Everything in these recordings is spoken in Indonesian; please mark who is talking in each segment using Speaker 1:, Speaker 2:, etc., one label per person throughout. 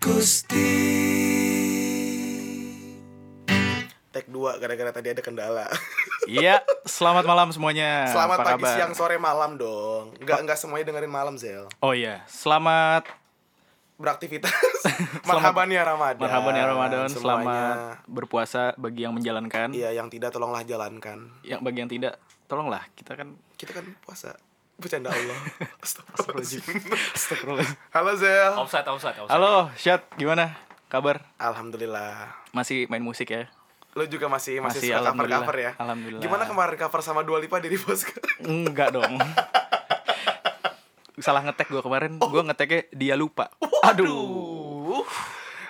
Speaker 1: Gusti
Speaker 2: Tag dua gara-gara tadi ada kendala.
Speaker 1: Iya, selamat malam semuanya
Speaker 2: Selamat
Speaker 1: Apa
Speaker 2: pagi,
Speaker 1: kabar?
Speaker 2: siang, sore, malam dong. Enggak enggak semuanya dengerin malam, Zel.
Speaker 1: Oh iya, selamat
Speaker 2: Beraktivitas. Marhaban ya Ramadan.
Speaker 1: Marhaban ya Ramadan
Speaker 2: semuanya.
Speaker 1: Selamat berpuasa bagi yang menjalankan
Speaker 2: Iya, yang tidak tolonglah jalankan.
Speaker 1: Yang bagi yang tidak, tolonglah Kita kan
Speaker 2: Kita kan puasa. Bercanda Allah. Astagfirullahaladzim.
Speaker 1: Astagfirullah.
Speaker 2: Halo Zel.
Speaker 3: Offside, offside, offside.
Speaker 1: Halo, Syat, gimana? Kabar?
Speaker 2: Alhamdulillah.
Speaker 1: Masih main musik ya?
Speaker 2: Lo juga masih masih,
Speaker 1: Masih,
Speaker 2: suka
Speaker 1: alhamdulillah.
Speaker 2: cover-cover ya?
Speaker 1: Alhamdulillah.
Speaker 2: Gimana kemarin cover sama Dua Lipa dari Bosco?
Speaker 1: Enggak dong Salah ngetek gue kemarin
Speaker 2: Oh.
Speaker 1: Gue ngeteknya dia lupa Aduh
Speaker 2: Uh.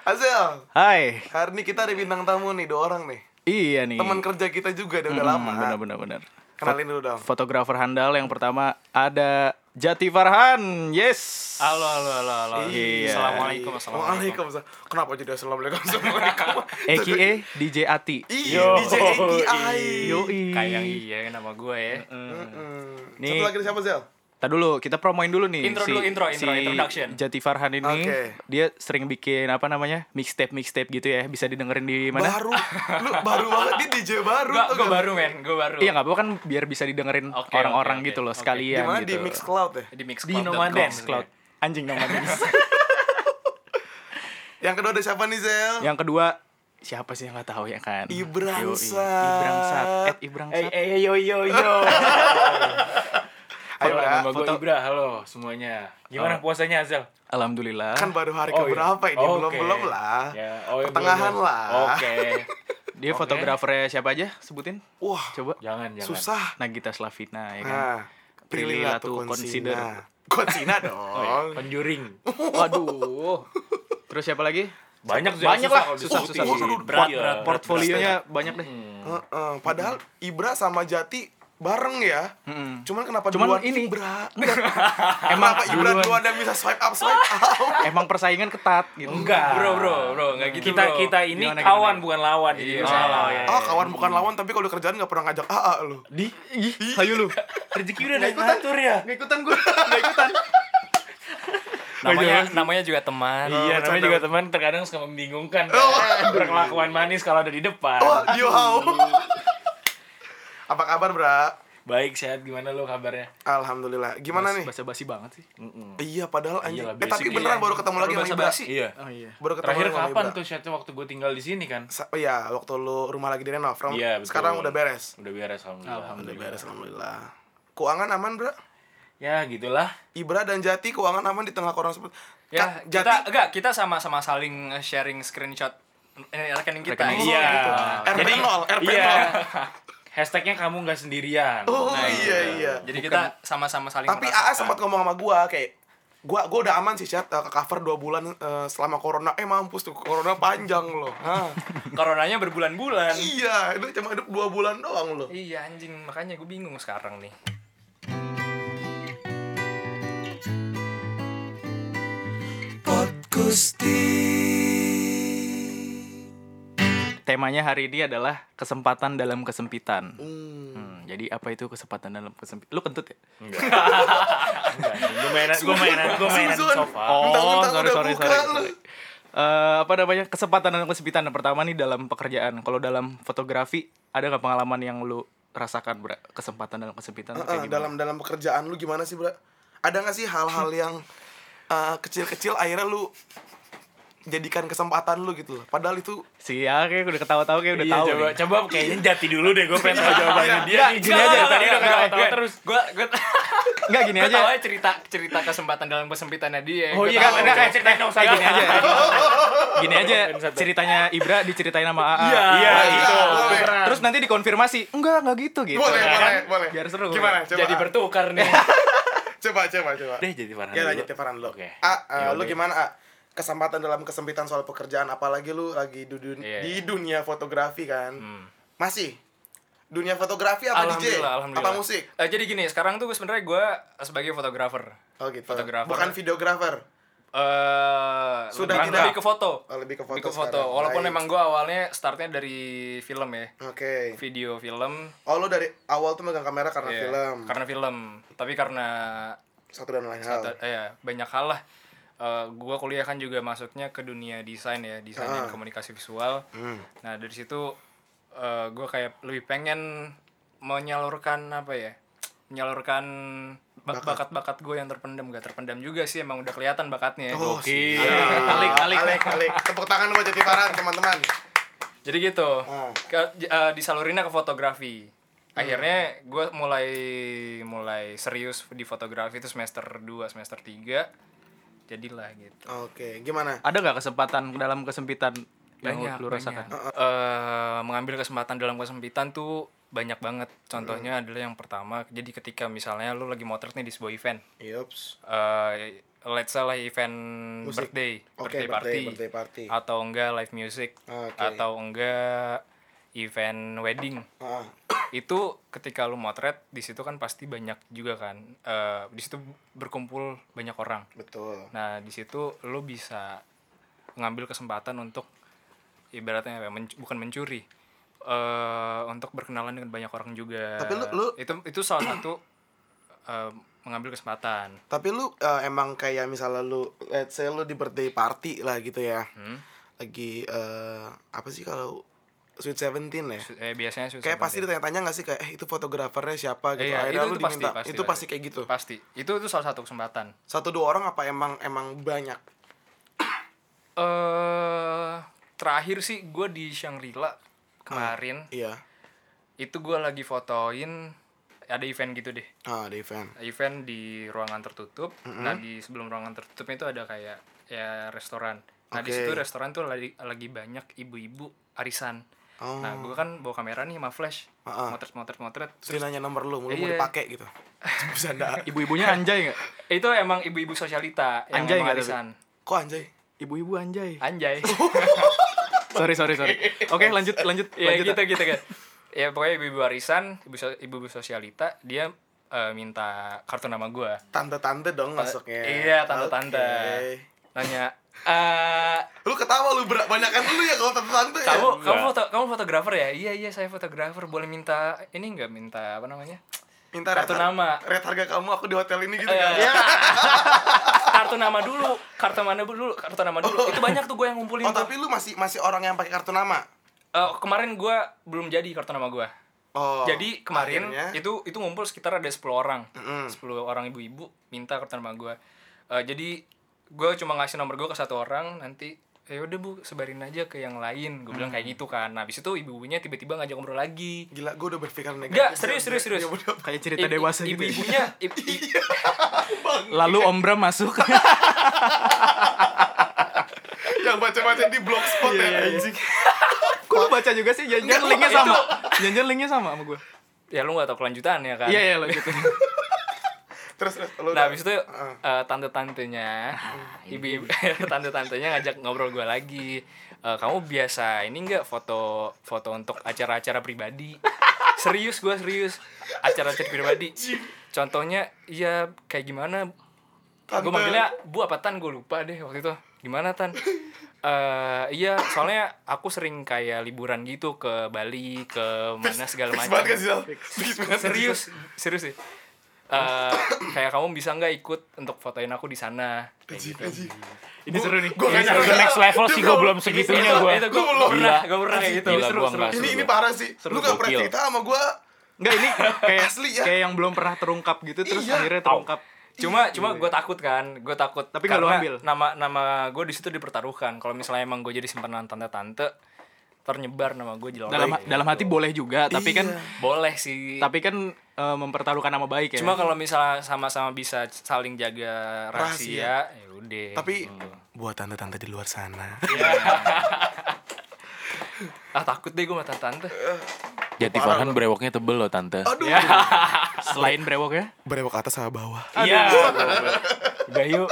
Speaker 2: Azel,
Speaker 1: Hai
Speaker 2: hari ini kita ada bintang tamu nih, dua orang nih.
Speaker 1: Iya nih
Speaker 2: Teman kerja kita juga udah, udah
Speaker 3: Hmm,
Speaker 2: lama.
Speaker 1: Bener-bener bener.
Speaker 2: Kenalin dulu dong.
Speaker 1: fotografer handal yang pertama ada Jati Farhan. Yes.
Speaker 3: Halo, halo, halo, halo.
Speaker 1: Iya.
Speaker 3: Assalamualaikum, assalamualaikum.
Speaker 2: Waalaikum. Kenapa jadi assalamualaikum assalamualaikum?
Speaker 3: Eh,
Speaker 1: AKA DJ Ati.
Speaker 2: Iya, DJ AKI.
Speaker 1: Yoi.
Speaker 3: Kayak iya nama gue ya.
Speaker 2: Hmm.
Speaker 1: Nih.
Speaker 2: Satu lagi siapa Zel?
Speaker 1: Tar dulu kita promoin dulu nih
Speaker 3: Intro
Speaker 1: si,
Speaker 3: dulu, intro,
Speaker 1: si
Speaker 3: intro, introduction.
Speaker 1: Jati Farhan ini
Speaker 2: Oke.
Speaker 1: dia sering bikin apa namanya mixtape mixtape gitu ya bisa didengerin di mana
Speaker 2: Baru, lu baru banget dia DJ E baru.
Speaker 3: Gue
Speaker 2: tau
Speaker 3: gue
Speaker 2: gak?
Speaker 3: baru men, gue baru.
Speaker 1: iya nggak apa-apa kan biar bisa didengerin
Speaker 3: Oke,
Speaker 1: orang-orang
Speaker 3: oke,
Speaker 1: gitu
Speaker 3: oke,
Speaker 1: loh
Speaker 3: oke.
Speaker 1: sekalian
Speaker 2: Gimana
Speaker 1: gitu
Speaker 2: di Mixcloud ya?
Speaker 3: Di
Speaker 1: di
Speaker 3: Mixcloud.com
Speaker 1: Nomadense
Speaker 3: sebenarnya.
Speaker 1: Cloud anjing Nomadense
Speaker 2: Yang kedua ada siapa nih Zel?
Speaker 3: Ya.
Speaker 1: yang kedua siapa sih yang nggak tahu ya kan
Speaker 2: Ibrangsat.
Speaker 1: Yoi, Ibrangsat at
Speaker 3: Eh,
Speaker 1: Ibrangsat
Speaker 3: eh, yo, yo, yo.
Speaker 2: Ayo
Speaker 3: Halo,
Speaker 2: Bra.
Speaker 3: nama gue
Speaker 1: foto.
Speaker 3: Ibra, halo semuanya. Gimana
Speaker 1: Oh.
Speaker 3: puasanya, Azel?
Speaker 1: alhamdulillah
Speaker 2: Kan baru hari
Speaker 3: Oh, iya.
Speaker 2: keberapa ini?
Speaker 3: Oke.
Speaker 2: Belum belum lah.
Speaker 3: Ya, oh, iya,
Speaker 2: Pertengahan
Speaker 3: belum, belum.
Speaker 2: lah.
Speaker 3: Oke.
Speaker 1: Dia
Speaker 3: Oke.
Speaker 1: fotografernya siapa aja? Sebutin.
Speaker 2: Wah,
Speaker 1: Coba.
Speaker 3: Jangan, jangan.
Speaker 2: susah.
Speaker 1: Nagita Slavina ya kan.
Speaker 2: Nah,
Speaker 1: Prilly Latu Consider.
Speaker 2: Konsina
Speaker 3: Oh, iya.
Speaker 2: dong.
Speaker 3: Conjuring.
Speaker 1: Waduh. Terus siapa lagi?
Speaker 3: Banyak Zel,
Speaker 1: Banyak lah,
Speaker 3: kalau
Speaker 1: susah,
Speaker 3: disebutin.
Speaker 1: susah, susah.
Speaker 3: Berat,
Speaker 2: Port-
Speaker 3: berat,
Speaker 1: Iya.
Speaker 3: berat.
Speaker 1: Portfolionya banyak deh.
Speaker 4: Hmm.
Speaker 2: Heeh, padahal Ibra sama Jati bareng ya.
Speaker 1: Mm-mm.
Speaker 2: Cuman kenapa
Speaker 1: Cuman
Speaker 2: duluan
Speaker 1: ini-
Speaker 2: Ibra?
Speaker 1: Emang
Speaker 2: Kenapa Ibra
Speaker 1: duluan.
Speaker 2: duluan yang bisa swipe up swipe up?
Speaker 1: Emang persaingan ketat gitu.
Speaker 3: Enggak. Bro, bro, bro, enggak gitu,
Speaker 4: kita
Speaker 3: bro.
Speaker 4: kita ini
Speaker 1: Gimana,
Speaker 4: kawan
Speaker 1: gimana?
Speaker 4: bukan lawan jadi
Speaker 3: Iya.
Speaker 4: salah ya.
Speaker 2: Ah, kawan bukan lawan tapi kalau di kerjaan nggak pernah ngajak AA lu.
Speaker 1: Di, ih, ayo lu.
Speaker 4: rezeki udah naik ngatur ya
Speaker 1: Nggak ikutan gue, nggak ikutan.
Speaker 3: Namanya namanya juga teman.
Speaker 4: iya
Speaker 2: bercanda.
Speaker 4: namanya juga teman terkadang suka membingungkan kan? berkelakuan manis kalau ada di depan
Speaker 2: Oh, you how? Apa kabar, Bra?
Speaker 4: baik sehat gimana lo kabarnya
Speaker 2: Alhamdulillah. Gimana nih?
Speaker 1: Basa-basi banget sih.
Speaker 2: Iya, padahal anjing.
Speaker 4: Iyalah,
Speaker 2: Eh, tapi
Speaker 4: basic
Speaker 2: beneran
Speaker 4: iya.
Speaker 2: baru ketemu lagi sama Ibra.
Speaker 4: basa-basi. iya
Speaker 1: Oh iya.
Speaker 2: Baru ketemu
Speaker 4: terakhir
Speaker 2: lagi sama
Speaker 4: kapan
Speaker 2: Ibra.
Speaker 4: tuh chatnya waktu gue tinggal di sini kan
Speaker 2: Sa- iya, waktu lu rumah lagi di renov. From-
Speaker 4: Iya, betul.
Speaker 2: Sekarang udah beres.
Speaker 4: udah beres alhamdulillah
Speaker 2: Udah beres, alhamdulillah. Keuangan aman, Bra?
Speaker 4: ya gitulah
Speaker 2: Ibra dan Jati keuangan aman di tengah korang sebut.
Speaker 3: Ya,
Speaker 2: Kak,
Speaker 3: kita enggak kita sama-sama saling sharing screenshot eh, rekening kita.
Speaker 1: Rekening.
Speaker 4: Iya.
Speaker 2: gitu. RP
Speaker 4: Jadi-
Speaker 2: nol, RP
Speaker 4: iya
Speaker 2: nol.
Speaker 4: hashtagnya kamu nggak sendirian
Speaker 2: Oh iya iya.
Speaker 3: Jadi kita sama-sama saling
Speaker 2: Tapi AA sempat ngomong sama gua kayak gua gua udah aman sih chat ke cover 2 bulan eh, selama corona. Eh mampus tuh corona panjang loh. Hah.
Speaker 3: Coronanya berbulan-bulan.
Speaker 2: iya, itu cuma hidup 2 bulan doang loh.
Speaker 3: Iya anjing, makanya gue bingung sekarang nih.
Speaker 1: Temanya hari ini adalah kesempatan dalam kesempitan.
Speaker 2: Hmm.
Speaker 1: Hmm, jadi apa itu kesempatan dalam kesempitan? Lu kentut ya?
Speaker 4: gue mainan gue mainan gue mainan di
Speaker 2: Susun.
Speaker 4: sofa
Speaker 2: Oh, Mentang-mentang
Speaker 1: sorry,
Speaker 2: udah
Speaker 1: sorry,
Speaker 2: buka
Speaker 1: sorry,
Speaker 2: lu.
Speaker 1: sorry. Eh, apa namanya kesempatan dan kesempitan yang pertama nih dalam pekerjaan kalau dalam fotografi ada nggak pengalaman yang lu rasakan Bra? kesempatan dalam kesempitan tuh
Speaker 2: Eh,
Speaker 1: kayak gimana?
Speaker 2: dalam dalam pekerjaan lu gimana sih, Bra? Ada gak sih hal-hal yang eh, kecil-kecil akhirnya lu jadikan kesempatan lu gitu loh. Padahal itu
Speaker 1: si ya kayak udah ketawa-tawa kayak udah
Speaker 4: Iya,
Speaker 1: tahu
Speaker 4: coba,
Speaker 1: nih.
Speaker 4: coba kayaknya jati dulu deh gue pengen tahu jawabannya dia
Speaker 1: Iya,
Speaker 4: nih. gini aja tadi udah ketawa-tawa terus
Speaker 3: Gue gue
Speaker 1: nggak gini aja
Speaker 3: aja ya cerita cerita kesempatan dalam kesempitannya dia. Iya.
Speaker 4: Oh
Speaker 3: Gua
Speaker 4: iya,
Speaker 3: tahu.
Speaker 4: enggak kayak ceritain dong saya
Speaker 1: Iya.
Speaker 4: gini aja.
Speaker 3: ya.
Speaker 1: gini aja ceritanya Ibra diceritain sama AA
Speaker 4: Iya,
Speaker 3: gitu.
Speaker 2: itu.
Speaker 4: itu.
Speaker 2: Boleh.
Speaker 1: terus nanti dikonfirmasi enggak enggak gitu gitu
Speaker 2: boleh,
Speaker 1: Ya
Speaker 2: boleh,
Speaker 1: kan?
Speaker 2: boleh.
Speaker 1: biar seru
Speaker 2: Gimana? Coba.
Speaker 4: Jadi bertukar nih.
Speaker 2: Coba, coba, coba.
Speaker 4: Deh jadi Farhan.
Speaker 2: Ya
Speaker 4: dulu.
Speaker 2: lanjut Farhan lo.
Speaker 4: Oke.
Speaker 2: A, eh, lu gimana A? Kesempatan dalam kesempitan soal pekerjaan apalagi lu lagi di, dun-
Speaker 3: Iya,
Speaker 2: di dunia fotografi kan. Masih dunia fotografi apa DJ?
Speaker 3: Alhamdulillah, alhamdulillah.
Speaker 2: Apa musik?
Speaker 3: Eh, jadi gini, sekarang tuh sebenarnya gue sebagai fotografer.
Speaker 2: Oh gitu.
Speaker 3: Fotografer.
Speaker 2: Bukan videografer.
Speaker 3: eh
Speaker 2: Sudah
Speaker 3: lebih,
Speaker 2: tidak-
Speaker 3: lebih ke foto.
Speaker 2: Oh, lebih ke foto
Speaker 3: Lebih ke foto.
Speaker 2: sekarang.
Speaker 3: Walaupun
Speaker 2: Baik.
Speaker 3: memang gue awalnya startnya dari film ya.
Speaker 2: Oke.
Speaker 3: Video film.
Speaker 2: Oh lu dari awal tuh megang kamera karena
Speaker 3: Iya,
Speaker 2: film.
Speaker 3: Karena film. Tapi karena
Speaker 2: Satu dan lain hal.
Speaker 3: eh, banyak hal lah. eh, gua kuliah kan juga masuknya ke dunia desain ya desain
Speaker 2: Ah.
Speaker 3: dan komunikasi visual
Speaker 2: Hmm.
Speaker 3: nah dari situ eh, gua kayak lebih pengen menyalurkan apa ya menyalurkan bak- bakat-bakat gue yang terpendam gak terpendam juga sih emang udah kelihatan bakatnya ya.
Speaker 2: Oh,
Speaker 1: Oke.
Speaker 2: Alik, alik, alik, Tepuk tangan buat Jati Paran, teman-teman.
Speaker 3: jadi gitu
Speaker 2: Ah.
Speaker 3: Ke- j- eh, disalurinnya ke fotografi akhirnya gue mulai mulai serius di fotografi itu semester 2 semester 3 jadilah gitu
Speaker 2: Oke, gimana?
Speaker 1: Ada nggak kesempatan dalam kesempitan yang
Speaker 3: banyak
Speaker 1: lu
Speaker 3: banyak.
Speaker 1: rasakan?
Speaker 2: Ah,
Speaker 3: Eh, mengambil kesempatan dalam kesempitan tuh banyak banget contohnya
Speaker 2: Iya.
Speaker 3: adalah yang pertama jadi ketika misalnya lu lagi motret nih di sebuah event
Speaker 2: Yops.
Speaker 3: eh let's say lah event
Speaker 2: Musik. Oke,
Speaker 3: birthday, birthday,
Speaker 2: birthday,
Speaker 3: party,
Speaker 2: birthday party. Ah,
Speaker 3: atau enggak live music,
Speaker 2: Oke.
Speaker 3: atau enggak event wedding.
Speaker 2: Ah,
Speaker 3: Itu ketika lu motret di situ kan pasti banyak juga kan. Eh di situ berkumpul banyak orang.
Speaker 2: betul.
Speaker 3: Nah, di situ lu bisa ngambil kesempatan untuk ibaratnya apa ya, menc- bukan mencuri. eh untuk berkenalan dengan banyak orang juga.
Speaker 2: Tapi lu- lu-
Speaker 3: itu itu salah satu eh, mengambil kesempatan.
Speaker 2: Tapi lu eh, emang kayak misalnya lu let's say lu di birthday party lah gitu ya.
Speaker 3: Hmm?
Speaker 2: Lagi eh, apa sih kalau Sweet Seventeen ya?
Speaker 3: Su- eh, biasanya susah
Speaker 2: Kayak pasti
Speaker 3: banget.
Speaker 2: ditanya-tanya gak sih kayak eh itu fotografernya siapa gitu.
Speaker 3: Iya,
Speaker 2: Akhirnya
Speaker 3: itu-
Speaker 2: lu
Speaker 3: itu pasti,
Speaker 2: diminta.
Speaker 3: pasti,
Speaker 2: itu pasti
Speaker 3: pasti.
Speaker 2: kayak gitu.
Speaker 3: pasti itu itu salah satu kesempatan
Speaker 2: Satu dua orang apa emang emang banyak?
Speaker 3: eh terakhir sih gue di Shangri-La
Speaker 2: Hmm.
Speaker 3: kemarin
Speaker 2: Iya.
Speaker 3: itu gue lagi fotoin ada event gitu deh
Speaker 2: Ah, ada event.
Speaker 3: event di ruangan tertutup nah di sebelum ruangan tertutup itu ada kayak ya restoran nah di
Speaker 2: Oke.
Speaker 3: situ restoran tuh lagi lagi banyak ibu-ibu arisan
Speaker 2: Oh.
Speaker 3: nah gue kan bawa kamera nih sama flash
Speaker 2: Ah, ah.
Speaker 3: motret motret motret
Speaker 2: Terus dia nanya nomor lu, lu mau
Speaker 3: Iya.
Speaker 2: dipakai gitu. Bercandaan.
Speaker 1: Ibu-ibunya anjay nggak?
Speaker 3: itu emang ibu-ibu sosialita yang
Speaker 1: Anjay
Speaker 3: emang
Speaker 1: nggak tapi? Oh,
Speaker 3: arisan
Speaker 2: Kok anjay?
Speaker 1: Ibu-ibu anjay.
Speaker 3: anjay
Speaker 1: Sorry sorry sorry. Oke lanjut lanjut
Speaker 3: ya
Speaker 1: lanjut.
Speaker 3: gitu gitu kan ya pokoknya ibu-ibu warisan ibu so- ibu-ibu sosialita dia eh, minta kartu nama gue
Speaker 2: Tante-tante dong masuknya.
Speaker 3: iya tante-tante
Speaker 2: Oke.
Speaker 3: nanya eh
Speaker 2: Lu ketawa lu ber- banyakan lu ya kalau tante-tante ya.
Speaker 3: kamu kamu foto kamu fotografer ya iya iya saya fotografer boleh minta ini nggak minta apa namanya
Speaker 2: Minta
Speaker 3: kartu
Speaker 2: red-
Speaker 3: nama.
Speaker 2: Red harga kamu aku di hotel ini gitu kan.
Speaker 3: Eh, kartu nama dulu kartu mana dulu kartu nama dulu itu banyak tuh gue yang ngumpulin
Speaker 2: Oh,
Speaker 3: tuh.
Speaker 2: tapi lu masih masih orang yang pakai kartu nama.
Speaker 3: Eh, kemarin gue belum jadi kartu nama gue
Speaker 2: Oh.
Speaker 3: Jadi kemarin
Speaker 2: akhirnya.
Speaker 3: itu itu ngumpul sekitar ada 10 orang. 10 orang ibu-ibu minta kartu nama gue. Eh, jadi gue cuma ngasih nomor gue ke satu orang nanti ya udah bu sebarin aja ke yang lain gue
Speaker 1: Mm.
Speaker 3: bilang kayak gitu kan nah habis itu ibu-ibunya tiba-tiba ngajak ngobrol lagi
Speaker 2: gila gue udah berpikir negatif.
Speaker 3: Nggak, serius, serius, serius.
Speaker 2: Ya udah.
Speaker 1: Kayak cerita
Speaker 3: Ibu-
Speaker 1: dewasa gitu. ya.
Speaker 3: ibu-ibunya i- i-
Speaker 1: Lalu Om Bram masuk.
Speaker 2: yang baca-baca di blogspot ya.
Speaker 1: Kok lu baca juga sih? Jangan linknya sama. Jangan linknya sama sama gue.
Speaker 3: ya lu nggak tahu kelanjutannya kan
Speaker 1: Iya iya lanjut.
Speaker 2: Terus terus lu
Speaker 3: nah
Speaker 2: udah- Ah.
Speaker 3: habis itu eh, tante-tantenya ibu tante-tantenya ngajak ngobrol gue lagi Eh, kamu biasa ini enggak foto foto untuk acara-acara pribadi serius gue serius acara-acara pribadi contohnya ya kayak gimana gue
Speaker 2: Tante.
Speaker 3: manggilnya bu apa tan gue lupa deh waktu itu gimana tan Eh, iya soalnya aku sering kayak liburan gitu ke Bali ke mana segala
Speaker 2: Fix
Speaker 3: macam
Speaker 2: banget kan sih Sal? Fix banget.
Speaker 3: Gitu serius serius sih Eh, kayak kamu bisa nggak ikut untuk fotoin aku di sana kayak gitu
Speaker 1: Ini seru nih.
Speaker 2: Gua
Speaker 1: Ini
Speaker 2: nggak
Speaker 1: seru.
Speaker 2: nyangka.
Speaker 4: next level
Speaker 2: Itu
Speaker 4: sih gue
Speaker 2: gua-
Speaker 4: belum segitunya gue
Speaker 3: Gitu. itu gue
Speaker 2: Gua belum.
Speaker 3: pernah gue pernah kayak gitu
Speaker 4: Gila, gua nggak
Speaker 2: Ini
Speaker 4: seru
Speaker 2: ini
Speaker 4: gua.
Speaker 2: parah sih. Lu gak pernah
Speaker 4: gokil.
Speaker 2: cerita sama gue
Speaker 1: Enggak ini kayak
Speaker 2: Asli ya.
Speaker 1: kayak yang belum pernah terungkap gitu terus
Speaker 2: Iya.
Speaker 1: akhirnya terungkap.
Speaker 3: cuma cuma gue takut kan gue takut
Speaker 1: Tapi nggak lu
Speaker 3: karena
Speaker 1: ambil.
Speaker 3: nama nama gue di situ dipertaruhkan kalau misalnya emang gue jadi simpanan tante tante ternyebar nama gue jelek
Speaker 1: Dalam
Speaker 3: Kayak
Speaker 1: dalam hati
Speaker 3: gitu.
Speaker 1: boleh juga, tapi kan
Speaker 2: Iya.
Speaker 3: boleh sih
Speaker 1: tapi kan eh, mempertaruhkan nama baik ya.
Speaker 3: cuma kalau misalnya sama-sama bisa saling jaga rahasia, ya udah
Speaker 2: Tapi buat tante-tante di luar sana.
Speaker 3: ah takut deh gue sama tante
Speaker 5: Eh,
Speaker 3: Ya.
Speaker 5: Jati Farhan brewoknya tebel loh tante.
Speaker 2: Aduh.
Speaker 1: selain brewok ya.
Speaker 2: Berewok atas sama bawah.
Speaker 4: iya
Speaker 3: Udah yuk.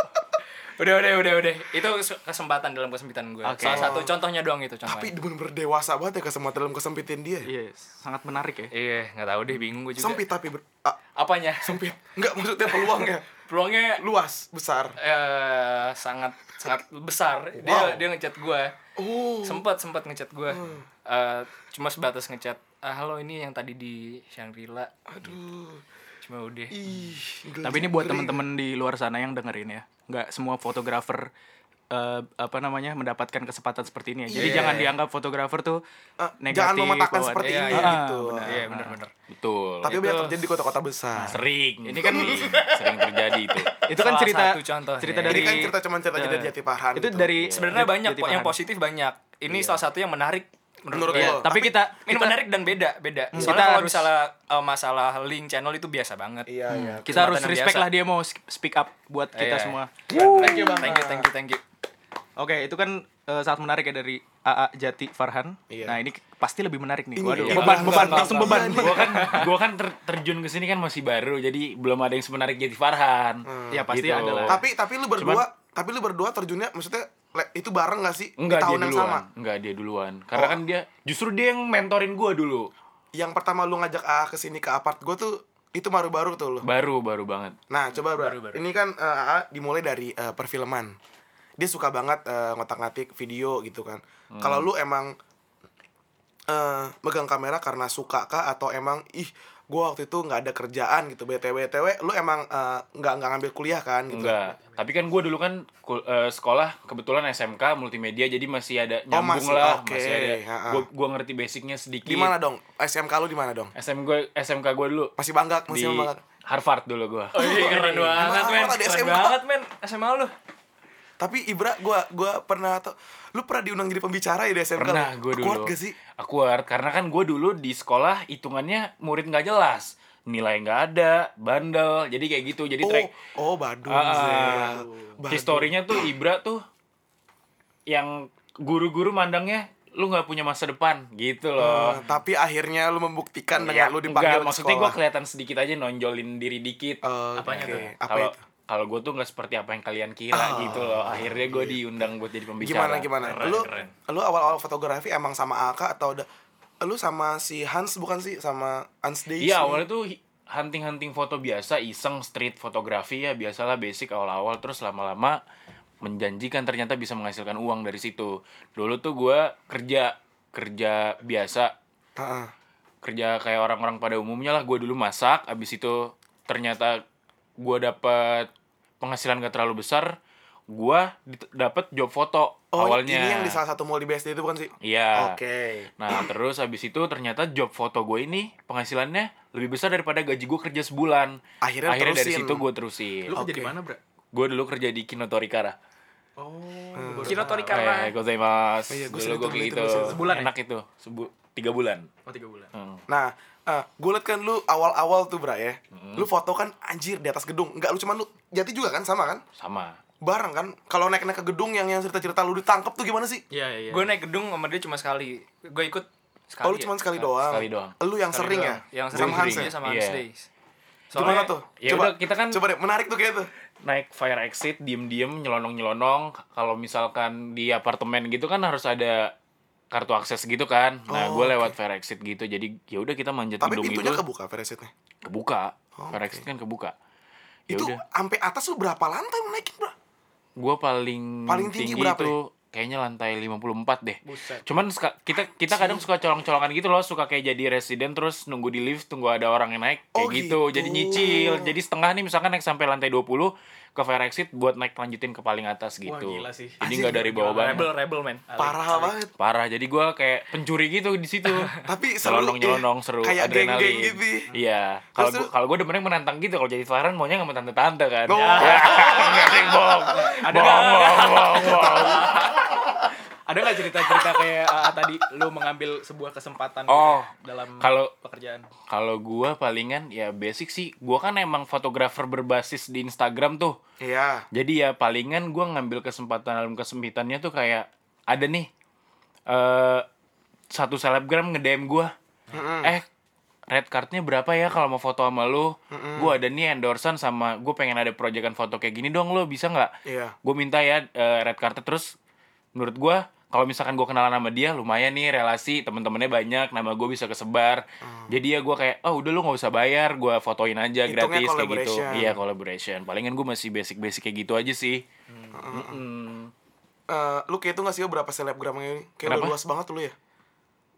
Speaker 3: Udah, udah, udah, udah. Itu se- kesempatan dalam kesempitan gue.
Speaker 1: Oke.
Speaker 3: Salah satu contohnya doang itu
Speaker 2: Tapi
Speaker 3: contohnya.
Speaker 2: bener-bener dewasa banget ya kesempatan dalam kesempitan dia.
Speaker 1: Iya, sangat menarik ya.
Speaker 3: Iya, nggak tahu deh, bingung gue juga.
Speaker 2: Sempit tapi ber- ah,
Speaker 3: Apanya?
Speaker 2: sempit. Enggak maksudnya peluangnya
Speaker 3: Peluangnya
Speaker 2: luas, besar.
Speaker 3: eh sangat sangat besar. Dia
Speaker 2: Wow.
Speaker 3: dia ngechat gue.
Speaker 2: Oh. Hmm.
Speaker 3: Sempat sempat ngechat gue. Eh, cuma sebatas ngechat. Ah, halo ini yang tadi di Shangri-La.
Speaker 2: Aduh. Iya.
Speaker 3: cuma udah
Speaker 2: Ih, geli-
Speaker 1: Tapi ini buat
Speaker 2: geli.
Speaker 1: teman-teman di luar sana yang dengerin ya. Nggak semua fotografer eh, apa namanya mendapatkan kesempatan seperti ini. ya. Jadi
Speaker 3: Iya.
Speaker 1: jangan dianggap fotografer tuh
Speaker 2: Eh,
Speaker 1: negatif.
Speaker 2: jangan mematakan
Speaker 1: bahwa-
Speaker 2: seperti
Speaker 3: Iya,
Speaker 2: ini
Speaker 3: iya,
Speaker 2: gitu.
Speaker 1: benar. iya.
Speaker 3: iya bener-bener
Speaker 5: Betul.
Speaker 2: Tapi
Speaker 3: Itu-
Speaker 2: banyak terjadi di kota-kota besar.
Speaker 1: Nah,
Speaker 5: sering.
Speaker 3: Ini kan-
Speaker 5: sering, sering terjadi itu.
Speaker 1: Itu kan
Speaker 3: Salah
Speaker 1: cerita
Speaker 3: satu contohnya.
Speaker 1: cerita
Speaker 2: Ini
Speaker 1: dari Iya.
Speaker 2: kan cerita cuman cerita jadi jati pahan.
Speaker 1: itu
Speaker 2: gitu.
Speaker 1: dari
Speaker 3: sebenarnya
Speaker 1: Iya, Jati-
Speaker 3: banyak
Speaker 1: Jati
Speaker 3: kok yang
Speaker 1: Pahan.
Speaker 3: positif banyak ini salah satu yang menarik
Speaker 2: menurut
Speaker 3: gue.
Speaker 2: lo.
Speaker 1: Tapi, kita
Speaker 3: Iya. ini
Speaker 1: kita-
Speaker 3: menarik dan beda beda
Speaker 1: Kita
Speaker 3: soalnya kalau
Speaker 1: harus-
Speaker 3: misalnya eh, masalah link channel itu biasa banget
Speaker 2: Iya, iya.
Speaker 1: kita harus
Speaker 3: kesempatan yang
Speaker 1: respect
Speaker 3: biasa.
Speaker 1: lah dia mau speak up buat kita
Speaker 3: Hmm. Iya.
Speaker 1: semua.
Speaker 3: thank you thank you thank you thank you
Speaker 1: Oke, itu kan eh, sangat menarik ya dari AA Jati Farhan.
Speaker 2: Iya.
Speaker 1: Nah, ini pasti lebih menarik nih.
Speaker 2: Ini-
Speaker 1: Waduh,
Speaker 2: iya. Enggak,
Speaker 1: beban, beban,
Speaker 2: enggak,
Speaker 1: langsung
Speaker 2: enggak.
Speaker 1: beban.
Speaker 2: Iya,
Speaker 5: gua kan gua kan ter- terjun ke sini kan masih baru jadi belum ada yang semenarik Jati Farhan.
Speaker 1: Ya pasti
Speaker 5: Gitu.
Speaker 1: ada lah.
Speaker 2: Tapi tapi lu berdua, tapi lu berdua terjunnya maksudnya le- itu bareng gak sih
Speaker 5: Enggak
Speaker 2: di
Speaker 5: dia
Speaker 2: tahun yang
Speaker 5: duluan.
Speaker 2: sama? Oh.
Speaker 5: Enggak dia duluan. Karena kan dia justru dia yang mentorin gua dulu.
Speaker 2: Yang pertama lu ngajak AA ke sini ke apart gue tuh itu baru-baru tuh lu.
Speaker 5: Baru baru banget.
Speaker 2: Nah, coba bro. Ini kan eh, AA dimulai dari eh, perfilman. Dia suka banget eh, ngotak-ngatik video gitu kan.
Speaker 5: Hmm.
Speaker 2: Kalau lu emang eh megang kamera karena suka kah atau emang ih gua waktu itu nggak ada kerjaan gitu btw btw lu emang eh, nggak nggak ngambil kuliah kan gitu
Speaker 5: Enggak. Tapi kan gua dulu kan kul- eh, sekolah kebetulan SMK multimedia jadi masih ada
Speaker 2: Oh,
Speaker 5: nyambung
Speaker 2: masih,
Speaker 5: lah,
Speaker 2: oke.
Speaker 5: masih ada.
Speaker 2: Ha-ha.
Speaker 5: Gua gua ngerti basicnya sedikit.
Speaker 2: di mana dong SMK lu di mana dong
Speaker 5: SM gua SMK gua dulu
Speaker 2: masih bangga
Speaker 5: di
Speaker 2: masih bangga
Speaker 5: Harvard dulu gua.
Speaker 3: keren banget
Speaker 2: Maaf,
Speaker 3: men
Speaker 2: ada
Speaker 3: keren
Speaker 2: SMA.
Speaker 3: banget men SMA lu
Speaker 2: tapi Ibra gua gua pernah tau lu pernah diundang jadi pembicara ya di SMK lu?
Speaker 5: Pernah gue dulu.
Speaker 2: Awkward gak sih
Speaker 5: Awkward, karena kan gue dulu di sekolah hitungannya murid nggak jelas, nilai nggak ada, bandel, jadi kayak gitu. Jadi
Speaker 2: oh
Speaker 5: track
Speaker 2: oh badung
Speaker 5: Ah,
Speaker 2: Zel. Badung.
Speaker 5: historinya tuh Ibra tuh yang guru-guru mandangnya lu nggak punya masa depan gitu loh.
Speaker 2: Eh, tapi akhirnya lu membuktikan dengan
Speaker 5: Ya,
Speaker 2: lu dipanggil
Speaker 5: nggak,
Speaker 2: ke
Speaker 5: maksudnya gue
Speaker 2: sekolah.
Speaker 5: kelihatan sedikit aja nonjolin diri dikit. gitu.
Speaker 2: Eh, oke. Apa
Speaker 5: kalau
Speaker 2: itu? Ah,
Speaker 5: kalau gue tuh nggak seperti apa yang kalian kira gitu loh. Akhirnya gue diundang buat jadi
Speaker 2: iya. Gimana gimana?
Speaker 5: pembicara.
Speaker 2: lu lu awal-awal fotografi emang sama Aka atau udah lu sama si Hans bukan sih sama Hans Day?
Speaker 5: Iya awalnya tuh hi- hunting-hunting foto biasa, iseng street fotografi ya biasalah basic awal-awal terus lama-lama menjanjikan ternyata bisa menghasilkan uang dari situ. Dulu tuh gua kerja kerja biasa
Speaker 2: Heeh.
Speaker 5: kerja kayak orang-orang pada umumnya lah gue dulu masak abis itu ternyata gue dapat penghasilan gak terlalu besar gue dapat job foto
Speaker 2: Oh,
Speaker 5: awalnya
Speaker 2: ini yang di salah satu mall di BSD itu bukan sih?
Speaker 5: iya
Speaker 2: Oke.
Speaker 5: Nah, terus habis itu ternyata job foto gue ini penghasilannya lebih besar daripada gaji gue kerja sebulan.
Speaker 2: Akhirnya
Speaker 5: dari
Speaker 2: terusin.
Speaker 5: situ gue terusin.
Speaker 1: Lu kerja
Speaker 2: Oke.
Speaker 1: di mana, Oh, Bra?
Speaker 5: Gue dulu kerja di Kinotorikara.
Speaker 3: Kino
Speaker 5: Eh,
Speaker 3: Torikara
Speaker 5: gozaimasu.
Speaker 2: Oh iya, gua sering
Speaker 5: dulu
Speaker 2: dengar
Speaker 5: gue
Speaker 2: itu,
Speaker 5: gitu.
Speaker 2: gua sering-
Speaker 1: Sebulan ya?
Speaker 5: Enak itu. Sebu tiga bulan.
Speaker 1: Oh, tiga bulan.
Speaker 5: Hmm.
Speaker 2: Nah, eh gue liat kan lu awal-awal tuh Bra ya Lu foto kan anjir di atas gedung Enggak lu cuman lu jati juga kan sama kan
Speaker 5: Sama.
Speaker 2: Bareng kan Kalau naik-naik ke gedung yang yang cerita-cerita lu ditangkep tuh gimana sih?
Speaker 1: Iya, iya.
Speaker 3: gue naik gedung sama dia cuma sekali gue ikut sekali
Speaker 2: Oh lu
Speaker 3: ya.
Speaker 2: cuman sekali doang
Speaker 5: Iya, sekali doang.
Speaker 2: Lu yang
Speaker 3: Sekali
Speaker 2: sering
Speaker 3: doang.
Speaker 2: ya?
Speaker 3: yang
Speaker 2: Sama
Speaker 3: sering
Speaker 2: Hans
Speaker 3: dia
Speaker 2: ya?
Speaker 3: sama
Speaker 5: Iya.
Speaker 3: Hans Days
Speaker 2: Gimana tuh?
Speaker 5: Ya
Speaker 2: coba
Speaker 5: udah, kita kan
Speaker 2: coba deh, menarik tuh kayaknya tuh.
Speaker 5: naik fire exit, diem-diem, nyelonong-nyelonong. Kalau misalkan di apartemen gitu kan harus ada kartu akses gitu kan. Nah,
Speaker 2: Oh,
Speaker 5: gue lewat fire exit gitu. Jadi ya udah kita manjat
Speaker 2: Tapi
Speaker 5: gedung
Speaker 2: pintunya
Speaker 5: itu.
Speaker 2: kebuka Veresetnya.
Speaker 5: kebuka.
Speaker 2: Oh,
Speaker 5: Fire
Speaker 2: oke.
Speaker 5: exit kan kebuka. Ya
Speaker 2: Itu
Speaker 5: udah.
Speaker 2: sampai atas lu berapa lantai lu naikin, Bro?
Speaker 5: Gua paling,
Speaker 2: Paling tinggi
Speaker 5: tinggi,
Speaker 2: berapa ya?
Speaker 5: itu kayaknya lantai 54 deh. Cuman suka- kita kita kadang suka colong-colongan gitu loh, suka kayak jadi resident terus nunggu di lift, tunggu ada orang yang naik
Speaker 2: Oh,
Speaker 5: kayak gitu. Jadi
Speaker 2: gitu.
Speaker 5: nyicil. Jadi setengah nih misalkan naik sampai lantai 20 ke fire exit buat naik lanjutin ke paling atas gitu.
Speaker 4: gila sih.
Speaker 5: Jadi nggak dari bawah
Speaker 3: rebel
Speaker 5: banget.
Speaker 3: rebel men
Speaker 2: Parah banget.
Speaker 5: Parah. Jadi gua kayak pencuri gitu di situ.
Speaker 2: Tapi seru.
Speaker 5: Nyelonong-nyelonong
Speaker 2: iya.
Speaker 5: seru
Speaker 2: Kayak
Speaker 5: adrenalin.
Speaker 2: geng-geng gitu.
Speaker 5: Iya. Kalau
Speaker 2: Terus
Speaker 5: gua
Speaker 2: lu-
Speaker 5: kalau gua demennya menantang gitu kalau jadi Farhan maunya sama tante-tante kan.
Speaker 2: Oh.
Speaker 5: Ya, nggak ada yang bohong. Bohong, bohong, bohong, bohong.
Speaker 1: Ada nggak cerita-cerita kayak AA tadi lu mengambil sebuah kesempatan gitu
Speaker 5: Oh,
Speaker 1: ya, dalam
Speaker 5: kalau-
Speaker 1: pekerjaan?
Speaker 5: Kalau gua palingan ya basic sih. Gua kan emang fotografer berbasis di Instagram tuh.
Speaker 2: Iya.
Speaker 5: Jadi ya palingan gua ngambil kesempatan dalam kesempitannya tuh kayak ada nih eh satu selebgram nge-DM gua. Eh red cardnya berapa ya kalau mau foto sama lu? Gua ada nih endorsean sama gue pengen ada proyekan foto kayak gini dong lo bisa nggak?
Speaker 2: Iya.
Speaker 5: Gue minta ya eh, red cardnya terus menurut gua kalau misalkan gua kenalan sama dia lumayan nih relasi temen-temennya banyak nama gue bisa kesebar jadi ya gua kayak oh udah lu nggak usah bayar gua fotoin aja
Speaker 2: Hitungnya
Speaker 5: gratis kayak gitu
Speaker 2: collaboration.
Speaker 5: iya collaboration palingan gue masih basic basic kayak gitu aja sih
Speaker 2: Eh, lu kayak itu gak sih berapa selebgram ini? Kayak udah
Speaker 5: Kenapa?
Speaker 2: luas banget lu ya.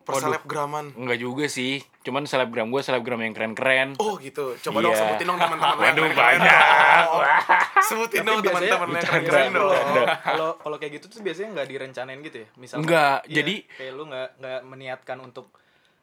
Speaker 2: per selebgraman
Speaker 5: Enggak juga sih. Cuman selebgram gue selebgram yang keren-keren.
Speaker 2: oh gitu coba dong
Speaker 5: Iya.
Speaker 2: sebutin dong teman-teman lo yang
Speaker 5: Waduh,
Speaker 2: keren-keren
Speaker 5: banyak.
Speaker 2: dong. sebutin dong teman-teman lo yang keren-keren dong
Speaker 1: Kalau kalau kayak gitu tuh biasanya nggak direncanain gitu ya, misalnya.
Speaker 5: Enggak,
Speaker 1: Iya,
Speaker 5: jadi-
Speaker 1: kayak lu nggak nggak meniatkan untuk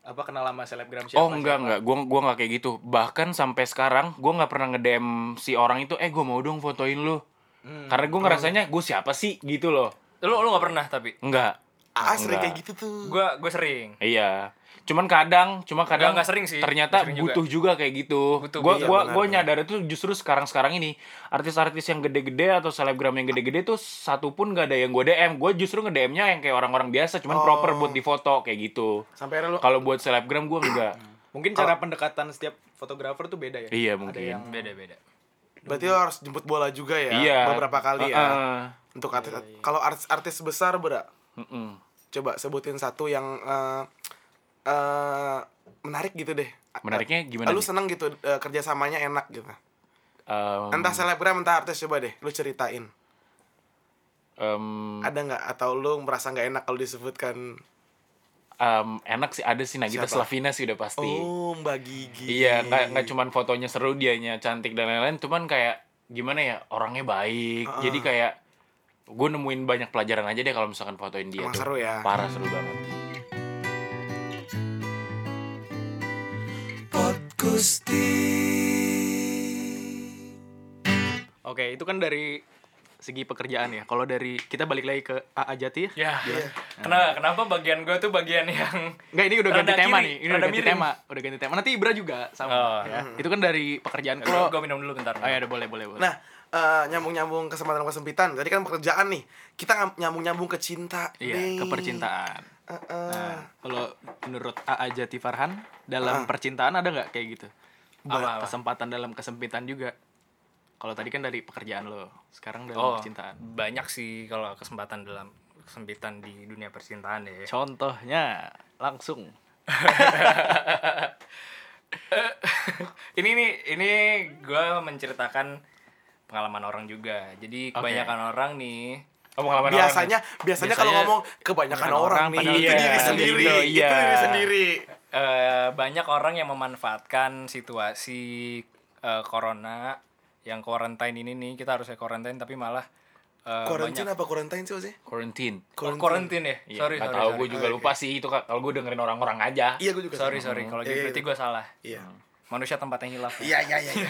Speaker 1: apa kenal sama selebgram siapa.
Speaker 5: Oh enggak enggak, gua gua enggak kayak gitu. Bahkan sampai sekarang gua nggak pernah nge-DM si orang itu, "Eh, gua mau dong fotoin lu." Karena gua ngerasanya gue siapa sih gitu loh.
Speaker 3: Lu lu gak pernah tapi
Speaker 5: Enggak.
Speaker 2: ah sering
Speaker 5: Enggak.
Speaker 2: kayak gitu tuh
Speaker 3: gue gue sering
Speaker 5: Iya. Cuman kadang, cuma kadang
Speaker 3: Enggak, enggak sering sih.
Speaker 5: Ternyata
Speaker 3: Sering juga.
Speaker 5: butuh juga. kayak gitu.
Speaker 3: Butuh,
Speaker 5: gua
Speaker 2: iya,
Speaker 5: gua
Speaker 2: benar,
Speaker 5: gua
Speaker 2: benar.
Speaker 5: nyadar itu justru sekarang-sekarang ini artis-artis yang gede-gede atau selebgram yang gede-gede tuh satu pun gak ada yang gue DM. Gue justru nge-DM-nya yang kayak orang-orang biasa, cuman proper buat difoto kayak gitu.
Speaker 2: sampai akhirnya lo
Speaker 5: Kalau buat selebgram gua enggak.
Speaker 1: Mungkin cara pendekatan setiap fotografer tuh beda ya. Ada
Speaker 5: Iya, mungkin.
Speaker 1: yang
Speaker 3: beda beda
Speaker 2: berarti lo harus jemput bola juga ya
Speaker 5: Iya.
Speaker 2: beberapa kali ya
Speaker 5: Heeh. Iya,
Speaker 2: untuk artis kalau artis-artis besar berat
Speaker 5: Mm-mm.
Speaker 2: coba sebutin satu yang eh eh, menarik gitu deh
Speaker 5: Menariknya gimana
Speaker 2: lu
Speaker 5: nih?
Speaker 2: seneng gitu eh, kerjasamanya enak gitu
Speaker 5: Um,
Speaker 2: entah selebgram entah artis coba deh lu ceritain
Speaker 5: um,
Speaker 2: ada nggak atau lu merasa nggak enak kalau disebutkan
Speaker 5: um, enak sih ada sih Nagita
Speaker 2: Siapa?
Speaker 5: Slavina sih udah pasti.
Speaker 2: oh mbak gigi
Speaker 5: Iya, nggak nggak cuman fotonya seru dianya cantik dan lain-lain, cuman kayak gimana ya orangnya baik. Jadi kayak gue nemuin banyak pelajaran aja deh kalau misalkan fotoin dia
Speaker 2: Emang
Speaker 5: tuh.
Speaker 2: seru ya.
Speaker 5: Parah seru banget.
Speaker 1: Oke, itu kan dari segi pekerjaan ya. Kalau dari kita balik lagi ke AA Jati ya.
Speaker 3: ya
Speaker 2: Iya.
Speaker 3: kenapa kenapa bagian gue tuh bagian yang
Speaker 1: Enggak, ini udah
Speaker 3: Rada
Speaker 1: ganti tema
Speaker 3: kiri,
Speaker 1: nih. Ini udah
Speaker 3: rada
Speaker 1: ganti
Speaker 3: miring.
Speaker 1: tema, udah ganti tema. Nanti Ibra juga sama
Speaker 3: Oh.
Speaker 1: ya. Itu kan dari pekerjaan kalau
Speaker 3: gue minum dulu bentar
Speaker 1: Oh ya, udah boleh, boleh, boleh.
Speaker 2: nah eh, nyambung-nyambung kesempatan-kesempitan Tadi kan pekerjaan nih Kita ngam- nyambung-nyambung ke cinta
Speaker 1: iya,
Speaker 2: deh.
Speaker 1: kepercintaan.
Speaker 2: Eh, eh.
Speaker 1: Nah, kalau menurut AA Jati Farhan dalam percintaan ada nggak kayak gitu?
Speaker 3: Apa, apa?
Speaker 1: Kesempatan dalam kesempitan juga. Kalau tadi kan dari pekerjaan lo, sekarang dalam
Speaker 3: oh
Speaker 1: percintaan.
Speaker 3: banyak sih kalau kesempatan dalam kesempitan di dunia percintaan ya
Speaker 1: Contohnya langsung.
Speaker 3: ini nih ini gue menceritakan pengalaman orang juga jadi kebanyakan orang nih
Speaker 5: Oh, pengalaman
Speaker 2: Biasanya, biasanya kalau
Speaker 3: Biasanya-
Speaker 2: ngomong kebanyakan orang,
Speaker 1: orang,
Speaker 2: nih
Speaker 1: padahal
Speaker 2: Itu
Speaker 1: iya,
Speaker 2: diri
Speaker 1: padahal
Speaker 2: sendiri
Speaker 5: gitu, iya.
Speaker 2: Itu diri sendiri
Speaker 3: eh, banyak orang yang memanfaatkan situasi eh, corona yang quarantine ini nih kita harusnya quarantine tapi malah eh,
Speaker 2: Quarantine
Speaker 3: banyak
Speaker 2: apa quarantine sih maksudnya?
Speaker 5: quarantine.
Speaker 3: Oh, quarantine ya
Speaker 5: Iya,
Speaker 3: sorry
Speaker 5: nggak
Speaker 3: sorry
Speaker 5: tahu
Speaker 3: sorry.
Speaker 5: gue juga lupa sih itu kalau gue dengerin orang-orang aja.
Speaker 2: Iya gue juga
Speaker 3: sorry
Speaker 2: sama.
Speaker 3: sorry kalau gitu
Speaker 2: Iya, iya,
Speaker 3: berarti Hmm.
Speaker 2: iya.
Speaker 3: gue salah
Speaker 2: Iya
Speaker 3: manusia tempatnya hilaf ya?
Speaker 2: Iya, iya, iya, iya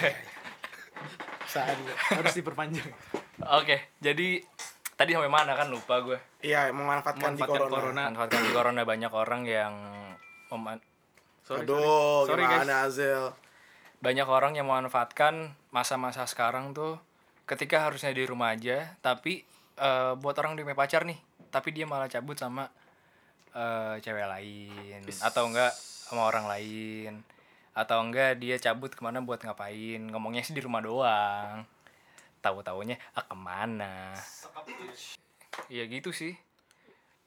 Speaker 2: Saat
Speaker 1: Harus diperpanjang.
Speaker 3: oke jadi tadi sampai mana kan lupa gue
Speaker 2: Iya, memanfaatkan di
Speaker 1: Memanfaatkan
Speaker 2: corona,
Speaker 1: corona.
Speaker 3: manfaatkan di Kan corona banyak orang yang meman-
Speaker 1: Sorry,
Speaker 2: Aduh,
Speaker 1: sorry. Sorry,
Speaker 2: gimana Azel
Speaker 3: banyak orang yang memanfaatkan masa-masa sekarang tuh ketika harusnya di rumah aja tapi eh, buat orang dia punya pacar nih tapi dia malah cabut sama eh, cewek lain atau enggak sama orang lain atau enggak dia cabut kemana buat ngapain ngomongnya sih di rumah doang tahu taunya ah kemana ya gitu sih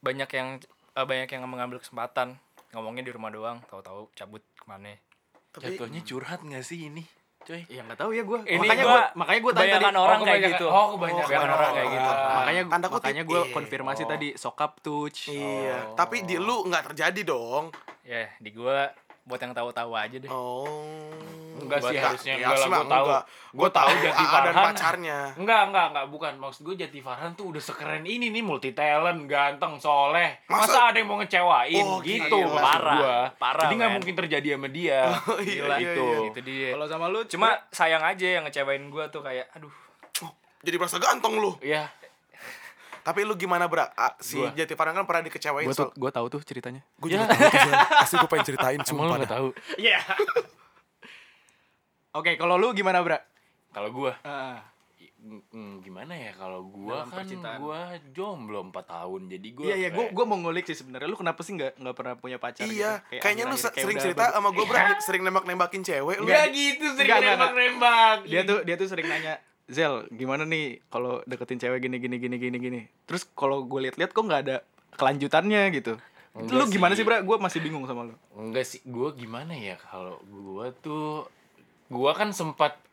Speaker 3: banyak yang eh, banyak yang mengambil kesempatan ngomongnya di rumah doang tahu-tahu cabut kemana
Speaker 2: Tapi Iya.
Speaker 5: Jatuhnya curhat nggak sih ini? Cuy.
Speaker 1: Ya nggak tahu ya gue.
Speaker 3: Ini
Speaker 1: Makanya
Speaker 3: gua-
Speaker 1: gue, makanya gue tanya tadi.
Speaker 3: kebanyakan orang
Speaker 5: Oh,
Speaker 3: kayak
Speaker 5: kebanyakan-
Speaker 3: gitu.
Speaker 5: Oh, kebanyakan
Speaker 3: Kebanyakan orang kayak gitu.
Speaker 1: makanya
Speaker 2: Oh. Tanda kutip,
Speaker 1: makanya gue
Speaker 2: iya.
Speaker 1: konfirmasi tadi sokap touch
Speaker 2: Iya, tapi di lu nggak terjadi dong.
Speaker 3: Ya, di gua buat yang tahu-tahu aja deh.
Speaker 2: Oh.
Speaker 5: Enggak sih
Speaker 2: Enggak,
Speaker 5: harusnya.
Speaker 2: iya
Speaker 5: Enggak lah
Speaker 2: sih,
Speaker 5: gue
Speaker 2: Bang,
Speaker 5: tahu.
Speaker 2: enggak.
Speaker 5: Gue tahu Jati
Speaker 2: AA dan
Speaker 5: Farhan.
Speaker 2: pacarnya.
Speaker 5: Enggak, enggak, enggak, bukan. Maksud gue Jati Farhan tuh udah sekeren ini nih, multi talent, ganteng, soleh. Masa,
Speaker 2: Masa-
Speaker 5: ada yang mau ngecewain
Speaker 2: Oh,
Speaker 5: gitu,
Speaker 2: gila,
Speaker 5: maksud
Speaker 3: parah,
Speaker 5: gua.
Speaker 3: parah,
Speaker 5: Jadi nggak
Speaker 3: men.
Speaker 5: mungkin terjadi sama dia.
Speaker 2: iya,
Speaker 5: Gila
Speaker 2: iya,
Speaker 5: itu.
Speaker 3: gitu. Itu dia.
Speaker 1: kalau sama lu
Speaker 3: Cuma sayang aja yang ngecewain gua tuh kayak aduh.
Speaker 2: Jadi merasa ganteng lu.
Speaker 5: Ya,
Speaker 2: Tapi lu gimana, Bra? Ah, Si
Speaker 1: Gua.
Speaker 2: Jati Farhan kan pernah dikecewain
Speaker 1: gue
Speaker 2: soal.
Speaker 1: tuh gue tahu tuh ceritanya
Speaker 2: Gue juga tahu tuh, Zal. Asli gue pengen ceritain
Speaker 5: emang lu nggak
Speaker 2: dah.
Speaker 5: tahu.
Speaker 1: oke kalau lu gimana bra
Speaker 5: Kalau gua, mm, gimana ya? Kalau
Speaker 1: Dalam
Speaker 5: gua kan
Speaker 1: percintaan.
Speaker 5: gua jomblo 4 tahun, jadi gua.
Speaker 1: iya iya gue
Speaker 5: kayak-
Speaker 1: gue mau ngulik sih sebenarnya lu kenapa sih nggak nggak pernah punya
Speaker 2: Iya,
Speaker 1: pacar gitu? Kayak
Speaker 2: kayaknya lu
Speaker 1: akhir-akhir,
Speaker 2: se-
Speaker 1: kayak
Speaker 2: sering
Speaker 1: udah
Speaker 2: cerita
Speaker 1: ber-
Speaker 2: sama gue, Bra. Sering nembak-nembakin cewek lu.
Speaker 5: Nggak gitu, sering
Speaker 1: Nggak, nggak, nggak.
Speaker 5: nembak-nembak.
Speaker 1: dia tuh dia tuh sering nanya Zel gimana nih kalau deketin cewek gini gini gini gini gini terus kalau gue liat-liat kok nggak ada kelanjutannya gitu
Speaker 5: Enggak
Speaker 1: lu gimana sih
Speaker 5: sih.
Speaker 1: bra gue masih bingung sama lu
Speaker 5: Enggak sih, gue gimana ya kalau gue tuh gue kan sempat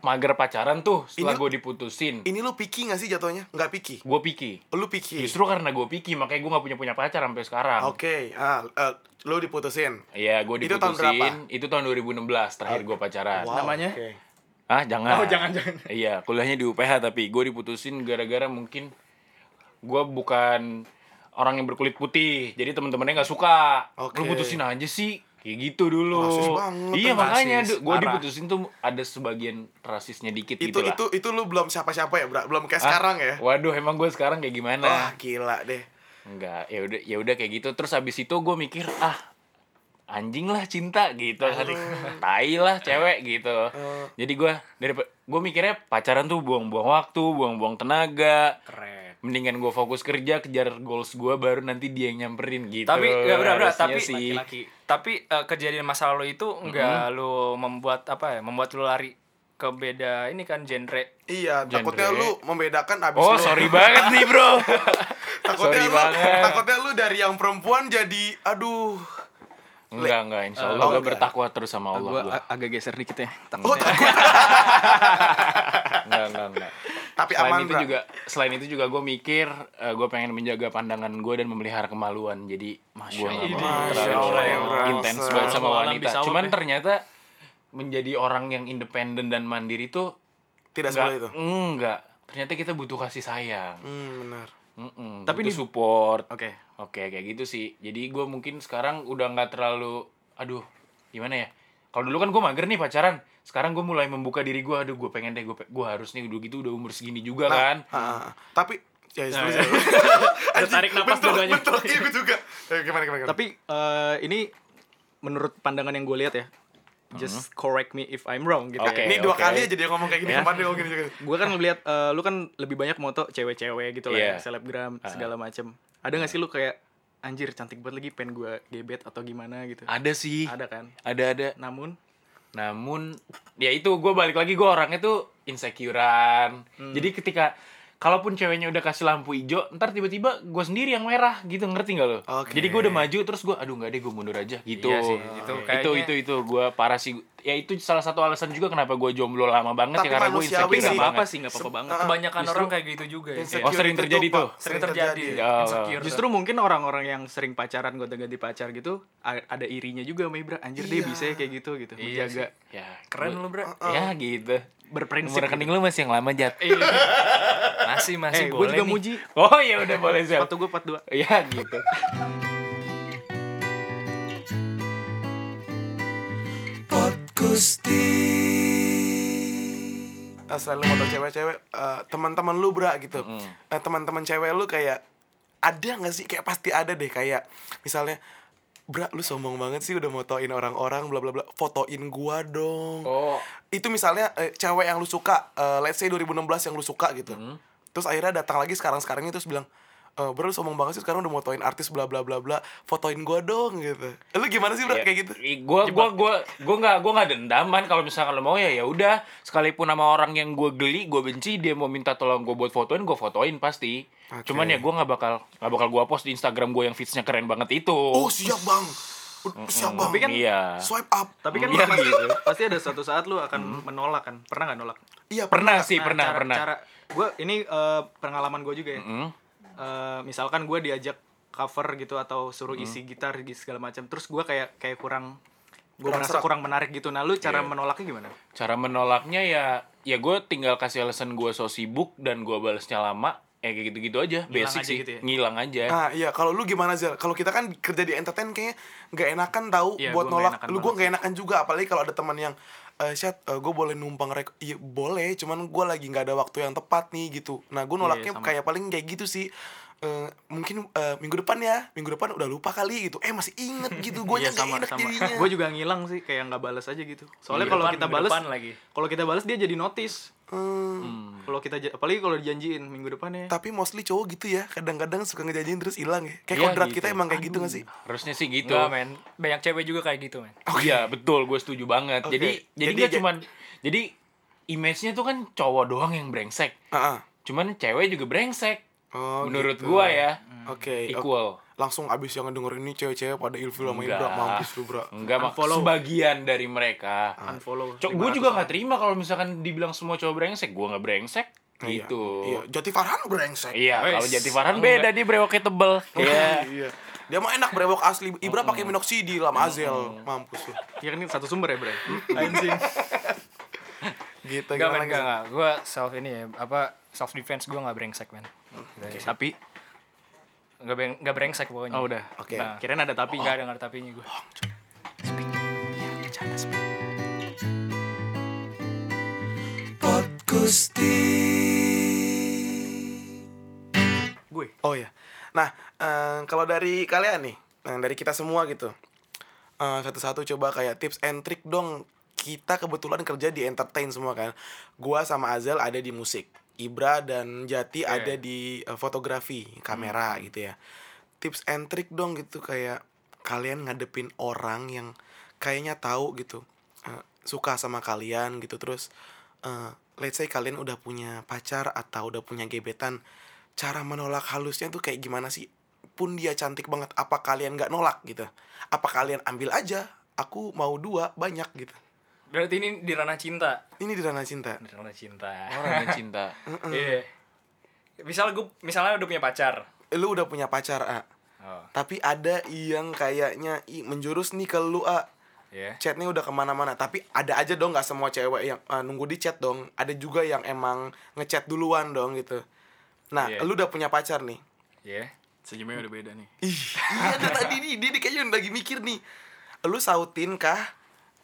Speaker 5: mager pacaran tuh setelah
Speaker 2: Ini-
Speaker 5: gue diputusin.
Speaker 2: Ini lu picky gak sih jatuhnya? Nggak picky.
Speaker 5: Gue picky.
Speaker 2: Lu picky.
Speaker 5: Justru karena gue picky makanya gue gak punya punya pacar sampai sekarang.
Speaker 2: Oke, ah, eh, lu diputusin.
Speaker 5: Iya, gue
Speaker 2: Itu tahun
Speaker 5: diputusin. Itu tahun 2016 terakhir gue pacaran.
Speaker 1: Namanya?
Speaker 2: oke.
Speaker 5: Ah, jangan.
Speaker 1: Oh, jangan, jangan.
Speaker 5: Iya, kuliahnya di UPH tapi gue diputusin gara-gara mungkin gue bukan orang yang berkulit putih. Jadi temen-temennya nggak suka.
Speaker 2: Oke.
Speaker 5: Lu putusin aja sih. Kayak gitu dulu.
Speaker 2: Rasis banget,
Speaker 5: Iya,
Speaker 2: kan?
Speaker 5: makanya
Speaker 3: Rasis,
Speaker 5: gue
Speaker 3: parah.
Speaker 5: diputusin tuh ada sebagian rasisnya dikit
Speaker 2: Itu
Speaker 5: gitu lah.
Speaker 2: itu itu lu belum siapa-siapa ya, Bra? Belum kayak
Speaker 5: Ah,
Speaker 2: sekarang ya.
Speaker 5: Waduh, emang gue sekarang kayak gimana?
Speaker 2: Wah, gila deh.
Speaker 5: Enggak, ya udah ya udah kayak gitu. Terus abis itu gue mikir, ah anjing lah cinta gitu kali. Tai lah cewek gitu. Jadi gue dari gue mikirnya pacaran tuh buang-buang waktu, buang-buang tenaga.
Speaker 4: Keren.
Speaker 5: Mendingan gue fokus kerja, kejar goals gue baru nanti dia yang nyamperin gitu.
Speaker 3: tapi nggak berat berat
Speaker 5: Harusnya
Speaker 3: tapi
Speaker 5: sih.
Speaker 3: tapi eh, kejadian masa lalu itu nggak lu membuat apa ya membuat lu lari ke beda ini kan genre
Speaker 2: Iya,
Speaker 5: Genre.
Speaker 2: takutnya lu membedakan abis
Speaker 5: Oh,
Speaker 2: lu.
Speaker 5: sorry banget nih, Bro.
Speaker 2: takutnya
Speaker 5: sorry
Speaker 2: lu,
Speaker 5: banget.
Speaker 2: takutnya lu dari yang perempuan jadi aduh.
Speaker 5: Enggak, enggak, insya Allah
Speaker 2: oh,
Speaker 5: gue
Speaker 2: enggak.
Speaker 5: bertakwa terus sama Allah
Speaker 1: Gue
Speaker 5: gua.
Speaker 1: agak geser dikit ya.
Speaker 2: Oh,
Speaker 1: Takutnya.
Speaker 2: takut.
Speaker 5: Enggak, enggak, enggak.
Speaker 2: Tapi
Speaker 5: selain
Speaker 2: aman,
Speaker 5: itu
Speaker 2: Bra.
Speaker 5: juga selain itu juga gue mikir gue pengen menjaga pandangan gue dan memelihara kemaluan jadi gue
Speaker 2: Allah.
Speaker 5: nggak mau
Speaker 2: Masya
Speaker 5: terlalu
Speaker 2: Allah, ya, Bra.
Speaker 5: intens
Speaker 2: Masya
Speaker 5: banget sama
Speaker 4: Allah,
Speaker 5: wanita
Speaker 4: bisa awet
Speaker 5: cuman
Speaker 4: ya.
Speaker 5: ternyata menjadi orang yang independen dan mandiri tuh
Speaker 2: Tidak
Speaker 5: nggak
Speaker 2: seperti itu.
Speaker 5: enggak ternyata kita butuh kasih sayang
Speaker 2: Hmm, benar.
Speaker 5: tapi
Speaker 1: Tapi
Speaker 5: butuh
Speaker 1: di-
Speaker 5: support oke
Speaker 1: Oke.
Speaker 5: kayak gitu sih jadi gue mungkin sekarang udah nggak terlalu aduh gimana ya kalau dulu kan gue mager nih pacaran sekarang gue mulai membuka diri gue aduh gue pengen deh gue gue harus nih udah gitu udah umur segini juga kan
Speaker 2: Ah, tapi ya,
Speaker 5: Nah,
Speaker 2: sorry, sorry.
Speaker 4: Udah tarik napas
Speaker 2: bentrok,
Speaker 4: dua-duanya.
Speaker 2: bentrok. Iya, gue juga. Eh, gimana, gimana, gimana?
Speaker 1: Tapi eh, ini menurut pandangan yang gue lihat ya. Just correct me if I'm wrong gitu.
Speaker 5: Hmm.
Speaker 1: ya.
Speaker 5: Oke.
Speaker 2: ini dua
Speaker 5: oke.
Speaker 2: kali aja dia ngomong kayak gini
Speaker 1: Ya.
Speaker 2: kemarin dia ngomong gini juga.
Speaker 1: Gue kan ngeliat eh, lu kan lebih banyak moto cewek-cewek gitu
Speaker 5: Iya.
Speaker 1: lah, ya, selebgram segala macem. Ada nggak sih lu kayak anjir cantik banget lagi pengen gue gebet atau gimana gitu?
Speaker 5: Ada sih.
Speaker 1: Ada kan?
Speaker 5: Ada ada.
Speaker 1: Namun
Speaker 5: Namun ya itu gue balik lagi gue orangnya tuh insecurean. Jadi ketika kalaupun ceweknya udah kasih lampu hijau, ntar tiba-tiba gue sendiri yang merah gitu ngerti nggak lo?
Speaker 2: Oke.
Speaker 5: Jadi gue udah maju terus gue aduh nggak deh gue mundur aja gitu.
Speaker 3: Iya sih, itu
Speaker 5: itu
Speaker 3: kayaknya-
Speaker 5: itu itu gue parah sih. Ya itu salah satu alasan juga kenapa gue jomblo lama banget
Speaker 2: Tapi
Speaker 5: ya karena gue
Speaker 2: manusiawi
Speaker 5: insecure
Speaker 1: tapi nggak
Speaker 2: sih.
Speaker 5: banget.
Speaker 1: apa-apa sih, nggak apa-apa banget.
Speaker 3: kebanyakan orang kayak gitu juga ya
Speaker 2: Insecure
Speaker 5: Oh, sering
Speaker 2: itu,
Speaker 5: terjadi
Speaker 2: Pak.
Speaker 5: tuh?
Speaker 3: sering terjadi
Speaker 5: Ya,
Speaker 3: insecure
Speaker 1: Justru mungkin orang-orang yang sering pacaran gonta-ganti pacar gitu a- ada irinya juga sama Ibra. Anjir dia
Speaker 2: Iya.
Speaker 1: bisa ya kayak gitu gitu.
Speaker 3: Iya
Speaker 1: Menjaga
Speaker 5: Ya
Speaker 3: keren lu bro
Speaker 5: Ya gitu.
Speaker 1: berprinsip.
Speaker 5: Nomor rekening lu masih yang lama jat.
Speaker 3: Iya. masih
Speaker 1: Eh,
Speaker 3: masih
Speaker 1: gue
Speaker 3: boleh
Speaker 1: juga
Speaker 3: nih.
Speaker 1: muji.
Speaker 5: Oh ya udah boleh sih.
Speaker 1: Sepatu gue 42.
Speaker 5: Ya gitu.
Speaker 2: Eh, selain lu motor cewek-cewek eh, teman-teman lu bra gitu Eh, teman-teman cewek lu kayak ada nggak sih kayak pasti ada deh kayak misalnya bra lu sombong banget sih udah motoin orang-orang bla bla bla fotoin gua dong
Speaker 5: Oh.
Speaker 2: itu misalnya eh, cewek yang lu suka eh, let's say 2016 yang lu suka gitu terus akhirnya datang lagi sekarang sekarang terus bilang eh bro lu sombong banget sih sekarang udah motoin artis bla bla bla bla fotoin gua dong gitu Eh, lu gimana sih bro kayak gitu
Speaker 5: Gue gua gua gua nggak gua nggak dendaman kalau misalkan lo mau ya ya udah sekalipun sama orang yang gue geli gue benci dia mau minta tolong gue buat fotoin gue fotoin pasti
Speaker 2: Oke.
Speaker 5: cuman ya gue nggak bakal nggak bakal gue post di Instagram gue yang feedsnya keren banget itu
Speaker 2: oh siap bang siap bang
Speaker 1: Tapi kan
Speaker 5: iya
Speaker 2: swipe up
Speaker 1: Tapi kan
Speaker 5: Iya,
Speaker 1: lu pasti,
Speaker 5: gitu.
Speaker 1: pasti ada suatu saat lu akan menolak kan? Pernah nggak nolak?
Speaker 2: iya
Speaker 5: pernah sih
Speaker 1: Nah,
Speaker 5: pernah
Speaker 1: cara,
Speaker 5: pernah
Speaker 1: Cara gue ini eh, pengalaman gue juga ya. Eh, misalkan gue diajak cover gitu atau suruh isi gitar gitu, segala macam. Terus gue kayak kayak kurang gue
Speaker 2: Kurang
Speaker 1: merasa
Speaker 2: serap.
Speaker 1: kurang menarik gitu. Nah, lu cara menolaknya gimana?
Speaker 5: cara menolaknya ya ya gue tinggal kasih alasan gue so sibuk dan gue balesnya lama ya kayak gitu gitu aja basic
Speaker 1: aja
Speaker 5: sih
Speaker 1: gitu ya?
Speaker 5: ngilang aja
Speaker 2: Ah iya, kalau lu gimana Zel? Kalau kita kan kerja di entertain kayaknya nggak enakan tahu
Speaker 1: Iya,
Speaker 2: buat
Speaker 1: gua nggak
Speaker 2: nolak.
Speaker 1: enakan
Speaker 2: Lu gua nggak enakan juga apalagi kalau ada teman yang eh Syat, gue boleh numpang rek Iya boleh, cuman gua lagi nggak ada waktu yang tepat nih gitu. Nah gue nolaknya
Speaker 1: Iya, sama.
Speaker 2: kayak paling kayak gitu sih. Eh, mungkin eh, minggu depan ya, minggu depan udah lupa kali gitu. Eh masih inget gitu, gue
Speaker 1: Iya,
Speaker 2: yang nggak enak jadinya.
Speaker 1: Gue juga ngilang sih, kayak nggak balas aja gitu. Soalnya
Speaker 3: Minggu
Speaker 1: kalau
Speaker 3: depan,
Speaker 1: kita
Speaker 3: minggu
Speaker 1: balas
Speaker 3: depan lagi.
Speaker 1: Kalau kita balas dia jadi notice.
Speaker 2: Hmm,
Speaker 1: Kalau kita ja- apalagi kalau dijanjiin minggu depan ya.
Speaker 2: Tapi mostly cowok gitu ya, kadang-kadang suka ngejanjiin terus hilang ya. Kayak
Speaker 5: Iya,
Speaker 2: kodrat
Speaker 5: gitu.
Speaker 2: kita emang kayak gitu gak sih?
Speaker 5: harusnya sih gitu
Speaker 3: Nggak, men banyak cewek juga kayak gitu men
Speaker 5: Iya betul, gue setuju banget.
Speaker 2: Oke,
Speaker 5: Jadi jadi
Speaker 2: jadi
Speaker 5: nggak
Speaker 2: ja-
Speaker 5: cuman jadi image-nya tuh kan cowok doang yang brengsek.
Speaker 2: Ah, ah.
Speaker 5: Cuman cewek juga brengsek.
Speaker 2: Oh,
Speaker 5: menurut
Speaker 2: gitu.
Speaker 5: gua ya
Speaker 2: Oke, oke.
Speaker 5: equal.
Speaker 2: langsung abis yang ngedenger ini cewek-cewek pada ilfil sama
Speaker 5: Enggak. Hmm,
Speaker 2: Ibra mampus lu bra
Speaker 5: Enggak, mak. Sebagian dari mereka.
Speaker 1: unfollow
Speaker 5: Cok, gue juga nggak terima kalau misalkan dibilang semua cowok brengsek, gue nggak brengsek. Gitu.
Speaker 2: iya. Jati Farhan brengsek
Speaker 5: Iya,
Speaker 3: Wes,
Speaker 5: kalau Jati Farhan
Speaker 3: enggak.
Speaker 5: beda dia brewoknya tebel. Iya.
Speaker 2: Iya. dia mah enak brewok asli Ibra
Speaker 5: Hmm.
Speaker 2: pakai minoxidil sama Azel mampus lu
Speaker 1: ya kan ini satu sumber ya bro anjing
Speaker 2: gitu
Speaker 3: Enggak,
Speaker 2: gimana
Speaker 3: men, enggak,
Speaker 2: lagi?
Speaker 3: enggak. Gue self ini ya, apa, self defense gue gak brengsek, men.
Speaker 1: tapi
Speaker 3: Gak, beng, gak brengsek pokoknya.
Speaker 1: oh udah
Speaker 2: oke
Speaker 3: Nah.
Speaker 1: kirain ada
Speaker 3: Tapi
Speaker 1: tapi
Speaker 3: gak ada ngerti tapinya gue.
Speaker 1: gue
Speaker 2: Oh ya. Nah, eh, kalau dari kalian nih, eh, dari kita semua gitu. eh, satu-satu coba kayak tips and trick dong. Kita kebetulan kerja di entertain semua kan. Gua sama Azel ada di musik. Ibra dan Jati ada di eh, fotografi, kamera gitu ya. Tips and trick dong gitu kayak kalian ngadepin orang yang kayaknya tahu gitu. eh, suka sama kalian gitu terus eh, let's say kalian udah punya pacar atau udah punya gebetan cara menolak halusnya tuh kayak gimana sih pun dia cantik banget apa kalian nggak nolak gitu apa kalian ambil aja aku mau dua banyak gitu
Speaker 3: Berarti ini di ranah cinta.
Speaker 2: ini di ranah cinta
Speaker 3: Di ranah cinta.
Speaker 5: Orang yang cinta.
Speaker 3: Iya. Misal gue, misalnya udah punya pacar.
Speaker 2: lu udah punya pacar A
Speaker 3: Oh,
Speaker 2: tapi ada yang kayaknya "Ih, menjurus nih ke lu A
Speaker 3: iya.
Speaker 2: chatnya udah kemana-mana tapi ada aja dong nggak semua cewek yang eh, nunggu di chat dong ada juga yang emang ngechat duluan dong gitu nah
Speaker 3: Iya.
Speaker 2: lu udah punya pacar nih
Speaker 3: Iya.
Speaker 1: senyumnya udah beda nih
Speaker 2: Ih, iya dari tadi nih dia nih kayaknya lagi mikir nih lu sautin kah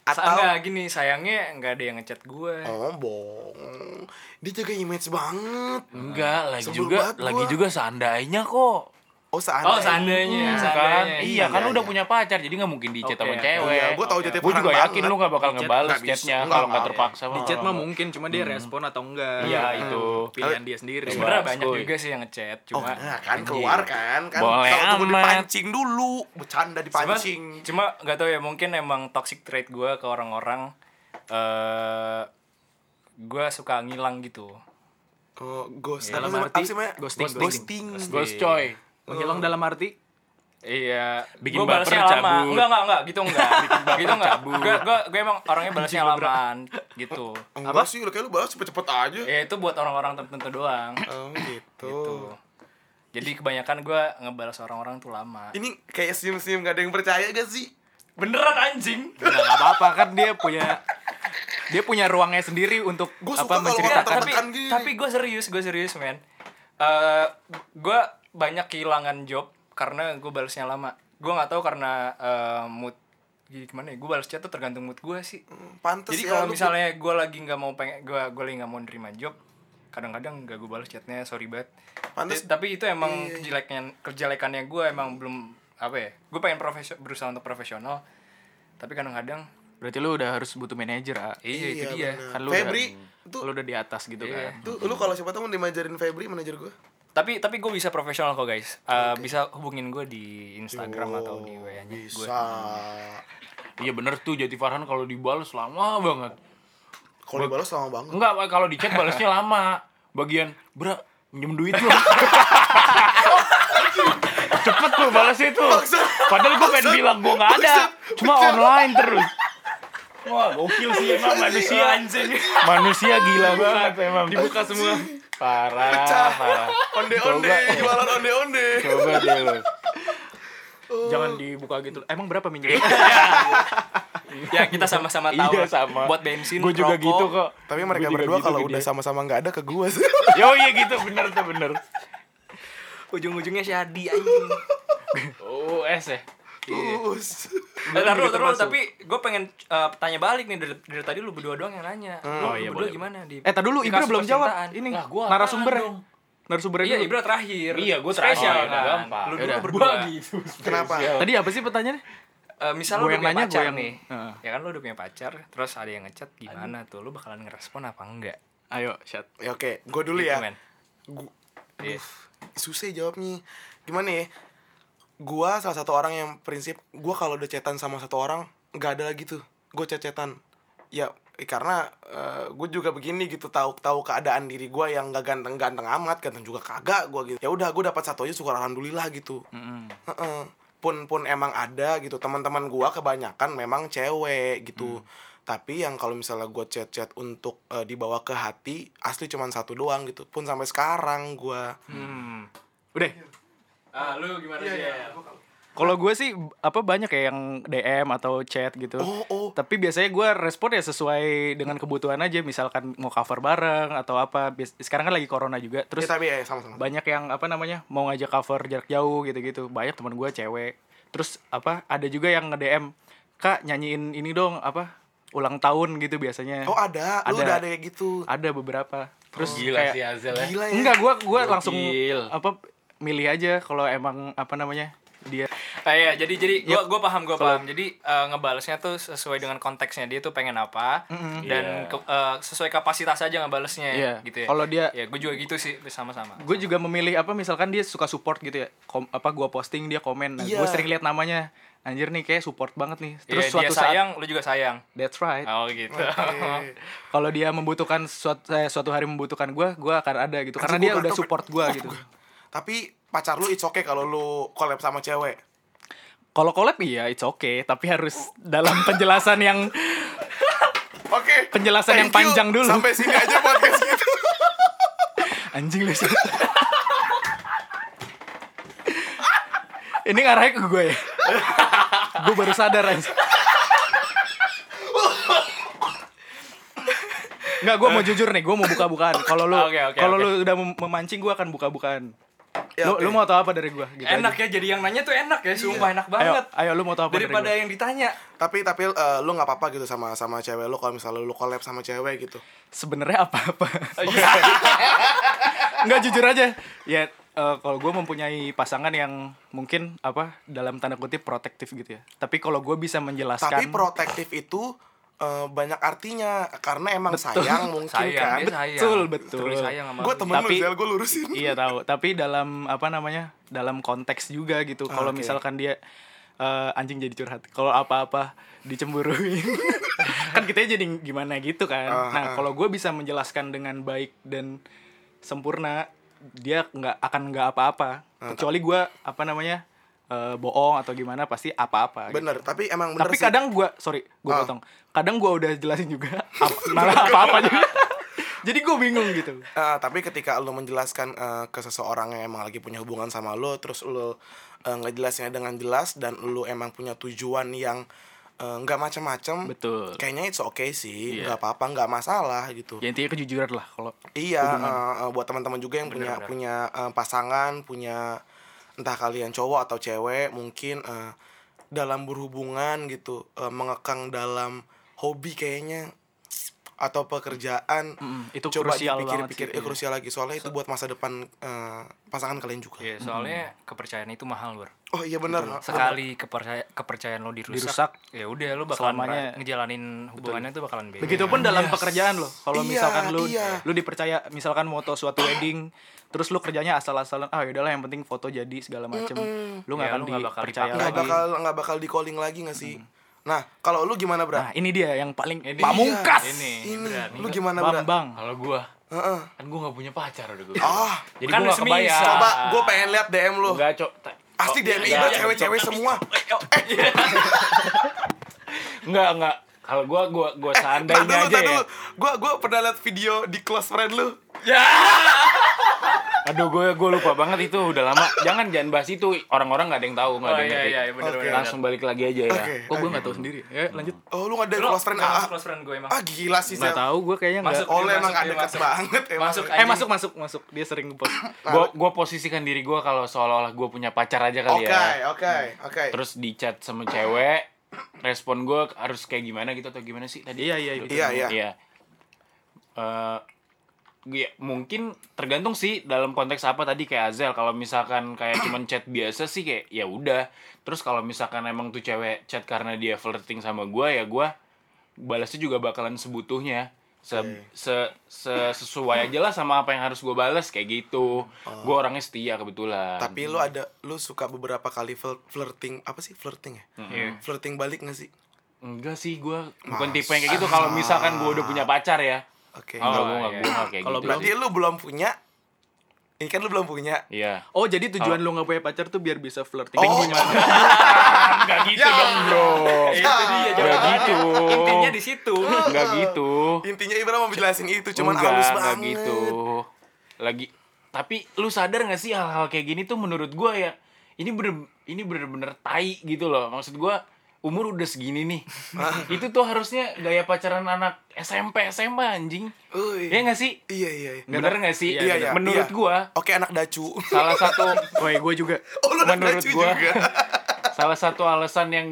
Speaker 3: Sa-
Speaker 2: atau
Speaker 3: enggak, gini, sayangnya nggak ada yang ngechat gue.
Speaker 2: Oh, bohong. Dia jaga image banget.
Speaker 5: Enggak, lagi
Speaker 2: Sebel
Speaker 5: juga
Speaker 2: banget
Speaker 5: lagi
Speaker 2: gua.
Speaker 5: juga seandainya kok.
Speaker 2: Oh, seandainya.
Speaker 3: Oh, seandainya,
Speaker 5: kan?
Speaker 3: seandainya.
Speaker 5: Iya,
Speaker 2: Iya,
Speaker 5: kan lu udah
Speaker 2: iya.
Speaker 5: punya pacar, jadi nggak mungkin di chat
Speaker 1: Oke,
Speaker 5: sama
Speaker 1: oke.
Speaker 5: cewek.
Speaker 2: Iya, gua tahu
Speaker 5: Oke,
Speaker 2: Jati
Speaker 5: oke. Gua juga
Speaker 2: Farhan
Speaker 5: yakin
Speaker 2: banget.
Speaker 5: lu nggak
Speaker 1: Di
Speaker 5: bakal
Speaker 1: chat
Speaker 5: ngebalas
Speaker 2: nggak bisa.
Speaker 5: chatnya
Speaker 2: Nggak,
Speaker 5: kalau nggak
Speaker 2: nggak.
Speaker 5: terpaksa.
Speaker 1: di chat mah mungkin cuma dia respon atau enggak
Speaker 5: Iya, itu.
Speaker 1: pilihan dia sendiri
Speaker 3: Sebenarnya
Speaker 5: Bas,
Speaker 3: banyak
Speaker 5: kuy.
Speaker 3: juga sih yang ngechat,
Speaker 2: Oh,
Speaker 3: cuma
Speaker 2: nah, kan keluar kan, kan
Speaker 5: Boleh
Speaker 2: Kalau tunggu
Speaker 5: amat.
Speaker 2: dipancing dulu, bercanda
Speaker 3: cuma
Speaker 2: dipancing.
Speaker 3: cuma nggak tahu ya mungkin emang toxic trait gue ke orang-orang eh gue suka ngilang gitu
Speaker 2: Oh, ghost.
Speaker 5: Ya,
Speaker 1: Dalam
Speaker 2: Apa sih,
Speaker 1: arti
Speaker 2: apa sih, namanya?
Speaker 1: ghosting,
Speaker 2: ghosting.
Speaker 5: Ghost coy.
Speaker 1: menghilang dalam arti
Speaker 3: iya
Speaker 5: Bikin
Speaker 3: Gua
Speaker 5: baper,
Speaker 3: balasnya lama
Speaker 5: cabut.
Speaker 3: enggak enggak enggak gitu enggak gitu enggak gue gue gue emang orangnya balasnya lamaan gitu
Speaker 2: Apa sih lu kayak lu balas cepet-cepet aja.
Speaker 5: Iya.
Speaker 3: ya itu buat orang-orang tertentu doang
Speaker 2: Oh, gitu.
Speaker 3: gitu jadi kebanyakan gue ngebalas orang-orang tuh lama
Speaker 2: Ini kayak senyum-senyum gak ada yang percaya gak sih?
Speaker 3: beneran anjing
Speaker 1: Udah nggak apa-apa kan dia punya dia punya ruangnya sendiri untuk
Speaker 2: Gua suka kalau
Speaker 1: apa
Speaker 2: orang
Speaker 1: menceritakan
Speaker 3: Iya, tapi
Speaker 2: tertekan gini.
Speaker 3: tapi gue serius gue serius men Eh gue banyak kehilangan job karena gue balasnya lama gue nggak tahu karena eh, mood jadi gimana ya gue balas chat tuh tergantung mood gue sih
Speaker 2: Pantes ya,
Speaker 3: jadi kalau
Speaker 2: lu-
Speaker 3: misalnya gue lagi nggak mau pengen gue gue lagi nggak mau nerima job kadang-kadang nggak gue balas chatnya sorry banget
Speaker 2: Pantes- Iya,
Speaker 3: Ta- tapi itu emang kejelekan kejelekannya gue emang belum apa ya gue pengen profesio- berusaha untuk profesional tapi kadang-kadang
Speaker 1: berarti lu udah harus butuh manajer ah
Speaker 3: iya, itu dia
Speaker 2: bener.
Speaker 1: kan lu
Speaker 2: Febri,
Speaker 1: udah,
Speaker 2: tuh,
Speaker 1: lu udah di atas gitu
Speaker 3: Iya.
Speaker 1: kan
Speaker 2: tuh lu kalau siapa tahu mau dimajarin Febri manajer gua.
Speaker 3: tapi tapi gue bisa profesional kok guys Eh, bisa hubungin gue di Instagram atau di wa nya gue
Speaker 2: Oh, Bisa.
Speaker 5: Iya bener tuh Jati Farhan kalau dibalas lama banget.
Speaker 2: Kalau dibalas lama banget.
Speaker 5: Enggak, kalau di chat balasnya lama. Bagian, bra, minjem duit lu. Cepet tuh balasnya tuh. Padahal gue pengen bilang gue gak ada. Cuma online terus. Wah, gokil sih emang manusia anjing. Manusia gila banget emang. Dibuka semua. Parah, parah.
Speaker 2: Onde-onde, jualan onde-onde.
Speaker 5: Coba deh lu.
Speaker 1: jangan dibuka gitu emang berapa minjem
Speaker 3: ya kita sama-sama tahu
Speaker 5: Iya, sama.
Speaker 3: buat bensin
Speaker 5: Gue juga
Speaker 3: rokok.
Speaker 5: gitu kok.
Speaker 2: Tapi mereka
Speaker 5: Gua juga
Speaker 2: berdua
Speaker 5: gitu
Speaker 2: kalau
Speaker 5: ke
Speaker 2: udah
Speaker 5: dia.
Speaker 2: sama-sama nggak ada ke gua sih.
Speaker 5: Yo iya gitu bener tuh bener.
Speaker 3: ujung-ujungnya si Adi anjing
Speaker 5: US ya.
Speaker 2: Terus.
Speaker 3: Eh, taruh, taruh, tapi gue pengen eh, tanya balik nih dari, dari tadi lu berdua doang yang nanya lu,
Speaker 5: Oh,
Speaker 3: lu
Speaker 5: iya,
Speaker 3: berdua
Speaker 5: boleh.
Speaker 3: gimana di
Speaker 1: eh tadi dulu
Speaker 3: di
Speaker 1: Ibra
Speaker 3: kasus
Speaker 1: belum
Speaker 3: percintaan?
Speaker 1: jawab ini
Speaker 5: Lah, gua apaan
Speaker 1: narasumber ya?
Speaker 5: dong?
Speaker 1: narasumber
Speaker 3: iya Ibra terakhir
Speaker 5: Iya, gua
Speaker 3: Spesial
Speaker 5: terakhir.
Speaker 3: kan?
Speaker 5: Gampang. Ya
Speaker 3: lu
Speaker 5: Yaudah.
Speaker 3: dulu berdua
Speaker 2: Kenapa?
Speaker 3: Iya.
Speaker 1: tadi apa sih pertanyaannya
Speaker 3: Eh, misal
Speaker 1: Gua
Speaker 3: lu udah
Speaker 1: yang
Speaker 3: punya
Speaker 1: nanya, gua
Speaker 3: pacar
Speaker 1: yang-
Speaker 3: nih
Speaker 1: Heeh.
Speaker 3: ya kan lu udah punya pacar terus ada yang ngechat gimana tuh lu bakalan ngerespon apa enggak
Speaker 1: ayo chat
Speaker 2: Ya oke, gua dulu
Speaker 3: Gitu,
Speaker 2: ya.
Speaker 3: men.
Speaker 2: Gu-
Speaker 3: Iya.
Speaker 2: susah jawabnya. Gimana ya? Gua salah satu orang yang prinsip gua kalau udah cetan sama satu orang nggak ada lagi tuh. Gua chat-chatan. ya eh, karena gue juga begini gitu tahu tahu keadaan diri gue yang gak ganteng ganteng amat ganteng juga kagak gue gitu ya udah gue dapat satu aja syukur alhamdulillah gitu Heeh. pun pun emang ada gitu teman-teman gue kebanyakan memang cewek gitu
Speaker 1: Hmm.
Speaker 2: tapi yang kalau misalnya gue chat chat untuk eh, dibawa ke hati asli cuman satu doang gitu pun sampai sekarang gue
Speaker 1: Hmm. Udah.
Speaker 3: Ah, lu gimana
Speaker 2: Iya,
Speaker 3: sih?
Speaker 1: Kalau gue sih apa banyak ya yang DM atau chat gitu.
Speaker 2: Oh, oh.
Speaker 1: Tapi biasanya gue respon ya sesuai dengan kebutuhan aja. Misalkan mau cover bareng atau apa. Bias- Sekarang kan lagi corona juga. Terus
Speaker 2: ya, tapi ya sama-sama
Speaker 1: banyak yang apa namanya mau ngajak cover jarak jauh gitu-gitu banyak teman gue cewek terus apa ada juga yang nge DM kak nyanyiin ini dong apa ulang tahun gitu biasanya
Speaker 2: oh ada, lu
Speaker 1: Ada.
Speaker 2: udah ada kayak gitu
Speaker 1: ada beberapa terus
Speaker 4: Gila
Speaker 1: kayak
Speaker 4: sih Azel ya.
Speaker 2: gila ya
Speaker 1: enggak gue gue langsung
Speaker 4: Gokil.
Speaker 1: apa milih aja kalau emang apa namanya dia
Speaker 3: Ah, iya, jadi jadi gua gua paham, gua paham. Jadi eh, ngebalesnya tuh sesuai dengan konteksnya dia tuh pengen apa dan ke- eh, sesuai kapasitas aja ngebalesnya
Speaker 1: Iya.
Speaker 3: gitu ya.
Speaker 1: Kalau dia-
Speaker 3: ya gua juga gitu sih sama-sama.
Speaker 1: gue juga memilih apa misalkan dia suka support gitu ya Kom- apa gue posting dia komen nah,
Speaker 2: Iya.
Speaker 1: gue sering lihat namanya anjir nih kayak support banget nih terus
Speaker 3: Iya,
Speaker 1: suatu
Speaker 3: dia
Speaker 1: saat
Speaker 3: sayang, lu juga sayang.
Speaker 1: that's right
Speaker 3: Oh gitu.
Speaker 1: kalau dia membutuhkan suatu, eh, suatu hari membutuhkan gue gue akan ada gitu karena
Speaker 2: Anjir,
Speaker 1: dia
Speaker 2: gua
Speaker 1: udah
Speaker 2: batuk.
Speaker 1: support gue gitu
Speaker 2: tapi pacar lu it's okay kalau lu collab sama cewek
Speaker 1: kalau collab iya it's okay tapi harus dalam penjelasan yang
Speaker 2: oke
Speaker 1: Penjelasan yang
Speaker 2: Thank you.
Speaker 1: panjang dulu.
Speaker 2: sampai sini aja podcast gitu
Speaker 1: anjing lu sih. ini ngarahnya ke gue ya gue baru sadar anjing Nggak, gue mau jujur nih, gue mau buka-bukaan. Kalau lu,
Speaker 3: Ah, Oke, oke,
Speaker 1: kalau
Speaker 3: oke.
Speaker 1: lu udah mem- memancing, gue akan buka-bukaan.
Speaker 2: Ya,
Speaker 1: lu,
Speaker 2: oke.
Speaker 1: lu mau tau apa dari gue? Gitu
Speaker 3: enak
Speaker 1: aja.
Speaker 3: ya jadi yang nanya tuh enak ya, sumpah enak
Speaker 1: Ayo,
Speaker 3: banget.
Speaker 1: Iya. ayo lu mau tau apa
Speaker 3: Daripada
Speaker 1: dari gue?
Speaker 3: yang ditanya.
Speaker 2: tapi tapi eh, lu nggak apa-apa gitu sama sama cewek lu kalau misalnya lu collab sama cewek gitu
Speaker 1: Sebenarnya apa-apa.
Speaker 3: Iya.
Speaker 1: Enggak jujur aja. Ya eh, kalau gue mempunyai pasangan yang mungkin apa dalam tanda kutip protektif gitu ya. Tapi kalau gue bisa menjelaskan
Speaker 2: tapi protektif itu eh, banyak artinya karena emang sayang mungkin
Speaker 3: sayang, dia
Speaker 2: kan
Speaker 3: sayang.
Speaker 1: Iya Betul, betul.
Speaker 3: Terus sayang sama
Speaker 2: gue
Speaker 3: lu.
Speaker 2: temen
Speaker 1: Tapi-
Speaker 2: lu gue lurusin
Speaker 1: Iya tahu, tapi dalam apa namanya? Dalam konteks juga gitu. Kalau
Speaker 2: oke.
Speaker 1: misalkan dia eh, anjing jadi curhat. Kalau apa-apa dicemburuin. kan kita jadi gimana gitu kan.
Speaker 2: Ah,
Speaker 1: nah, kalau gue bisa menjelaskan dengan baik dan sempurna, dia nggak akan nggak apa-apa.
Speaker 2: Ah,
Speaker 1: Kecuali gue apa namanya? eh, bohong atau gimana pasti apa-apa. gitu.
Speaker 2: bener tapi emang bener
Speaker 1: tapi
Speaker 2: sih. Ah.
Speaker 1: kadang gue sorry gue potong kadang gue udah jelasin juga apa, malah apa apa juga jadi gue bingung gitu
Speaker 2: Eh, tapi ketika lu menjelaskan eh, ke seseorang yang emang lagi punya hubungan sama lu terus lu eh, ngejelasinnya dengan jelas dan lu emang punya tujuan yang eh, nggak macem-macem
Speaker 1: Betul.
Speaker 2: kayaknya it's okay sih nggak apa-apa nggak masalah gitu
Speaker 1: ya intinya kejujuran lah kalau
Speaker 2: Iya, eh, eh, buat teman-teman juga yang punya punya eh, pasangan, punya entah kalian cowok atau cewek, mungkin eh, dalam berhubungan gitu, eh, mengekang dalam hobi kayaknya atau pekerjaan
Speaker 1: Mm-mm, itu
Speaker 2: coba
Speaker 1: krusial
Speaker 2: dipikir-pikir ya,
Speaker 1: banget sih, iya.
Speaker 2: krusial lagi soalnya itu buat masa depan eh, pasangan kalian juga.
Speaker 3: Iya, soalnya kepercayaan itu mahal, Bro.
Speaker 2: Oh iya benar.
Speaker 3: sekali kepercaya kepercayaan lo dirusak,
Speaker 1: Dirusak.
Speaker 3: ya udah lo bakalan
Speaker 1: Selamanya.
Speaker 3: mera- ngejalanin hubungannya tuh bakalan beda
Speaker 1: begitupun dalam pekerjaan lo kalau
Speaker 2: Ah, Iya,
Speaker 1: misalkan lu
Speaker 2: iya.
Speaker 1: lu dipercaya misalkan mau foto suatu wedding terus lu kerjanya asal-asalan ah yaudahlah yang penting foto jadi segala macem Iya, lu nggak
Speaker 3: Ya,
Speaker 1: akan
Speaker 3: lu nggak bakal
Speaker 1: dipercaya
Speaker 2: Nggak
Speaker 1: lagi
Speaker 2: bakal nggak bakal di calling lagi nggak sih? Nah kalau lu gimana
Speaker 1: nah
Speaker 2: Bra?
Speaker 1: ini dia yang paling
Speaker 3: Ini-
Speaker 1: pamungkas
Speaker 3: Iya, ini
Speaker 2: Ini
Speaker 3: berani.
Speaker 2: lu gimana Bra?
Speaker 1: bambang
Speaker 4: Kalau gua
Speaker 2: Heeh.
Speaker 4: kan gua nggak punya pacar udah gua.
Speaker 2: Ah,
Speaker 4: Jadi
Speaker 3: Kan
Speaker 4: gua nggak
Speaker 3: semisal.
Speaker 4: kebayang.
Speaker 3: Ah.
Speaker 2: coba gue pengen lihat DM lu.
Speaker 4: Enggak, Cok. Ta-
Speaker 2: Asli
Speaker 3: Oh,
Speaker 2: DM
Speaker 4: iya,
Speaker 2: Iqbal
Speaker 4: iya,
Speaker 2: cewek-cewek semua.
Speaker 4: Enggak, enggak. Kalau gua gua gua
Speaker 2: Tadi
Speaker 4: seandainya
Speaker 2: Eh, dulu,
Speaker 4: aja
Speaker 2: tadi
Speaker 4: ya.
Speaker 2: Nah, dulu. Gua gua pernah liat video di close friend lu.
Speaker 5: Aduh, gue gue lupa banget itu udah lama. Jangan jangan bahas itu. Orang-orang nggak ada yang tahu, nggak
Speaker 3: oh
Speaker 5: ada yang
Speaker 3: iya
Speaker 5: ngerti.
Speaker 3: iya iya, bener
Speaker 2: Oke.
Speaker 3: bener
Speaker 5: Langsung balik lagi aja ya.
Speaker 2: Oke.
Speaker 1: kok gue nggak tahu sendiri ya lanjut
Speaker 2: Oh, lu nggak ada
Speaker 3: Lu
Speaker 2: close friend
Speaker 3: nggak
Speaker 2: ah.
Speaker 3: masuk close friend gue emang
Speaker 2: Ah, gila sih,
Speaker 1: nggak
Speaker 2: Sel.
Speaker 1: tahu gue kayaknya nggak
Speaker 3: Masuk.
Speaker 2: Oh, lu
Speaker 3: Dia
Speaker 2: emang
Speaker 3: masuk,
Speaker 2: nggak
Speaker 3: dia
Speaker 2: dekat
Speaker 3: masuk.
Speaker 2: banget emang.
Speaker 3: Masuk.
Speaker 1: eh masuk masuk masuk dia sering post
Speaker 2: Nah,
Speaker 5: Gue gue posisikan diri gue kalau seolah-olah gue punya pacar aja kali
Speaker 2: Oke,
Speaker 5: ya.
Speaker 2: oke, oke.
Speaker 5: Terus di chat sama cewek, respon gue harus kayak gimana gitu atau gimana sih tadi?
Speaker 1: iya iya gitu
Speaker 2: Iya, iya.
Speaker 5: Iya. Eh, ya, mungkin tergantung sih dalam konteks apa tadi kayak Azel kalau misalkan kayak cuman chat biasa sih kayak ya udah. Terus kalau misalkan emang tuh cewek chat karena dia flirting sama gua ya gua balasnya juga bakalan sebutuhnya. Se, se- se- sesuai aja lah sama apa yang harus gua balas kayak gitu. Gua orangnya setia kebetulan.
Speaker 2: Tapi lu
Speaker 3: Iya.
Speaker 5: Hmm.
Speaker 2: ada lu suka beberapa kali flir- flirting, apa sih flirting ya? Flirting balik nggak sih?
Speaker 5: Enggak sih gue
Speaker 2: Mas.
Speaker 5: bukan tipe yang kayak gitu kalau misalkan gue udah punya pacar ya.
Speaker 2: Oke.
Speaker 3: Oh,
Speaker 5: Enggak gue enggak
Speaker 3: iya.
Speaker 5: gue enggak kayak
Speaker 1: Kalau
Speaker 5: gitu.
Speaker 2: Berarti
Speaker 5: sih.
Speaker 2: lu belum punya ini kan lu belum punya.
Speaker 5: Iya.
Speaker 1: Oh jadi tujuan lu nggak punya pacar tuh biar bisa flirting
Speaker 2: Oh.
Speaker 1: gimana?
Speaker 4: Enggak
Speaker 2: Ya
Speaker 4: gitu dong, Bro.
Speaker 1: Iya,
Speaker 2: Iya.
Speaker 3: itu dia
Speaker 1: Ya
Speaker 5: Enggak
Speaker 3: jawabannya.
Speaker 5: gitu.
Speaker 3: Intinya di situ.
Speaker 5: Enggak gitu.
Speaker 2: Intinya Ibra mau jelasin itu cuman
Speaker 5: Enggak,
Speaker 2: halus
Speaker 5: enggak
Speaker 2: banget.
Speaker 5: gitu. Lagi tapi lu sadar gak sih hal-hal kayak gini tuh menurut gue ya ini bener ini bener-bener tai gitu loh. Maksud gue umur udah segini nih. itu tuh harusnya gaya pacaran anak SMP SMA anjing.
Speaker 2: Uy.
Speaker 5: Iya gak sih?
Speaker 2: Iya iya. iya.
Speaker 5: Bener gak sih?
Speaker 2: Iya, iya,
Speaker 5: Menurut
Speaker 2: iya.
Speaker 5: gua
Speaker 2: Oke anak dacu.
Speaker 5: salah satu
Speaker 1: Oh ya gue juga.
Speaker 2: Oh, lu anak
Speaker 5: menurut
Speaker 2: dacu
Speaker 5: gua
Speaker 2: juga.
Speaker 5: salah satu alasan yang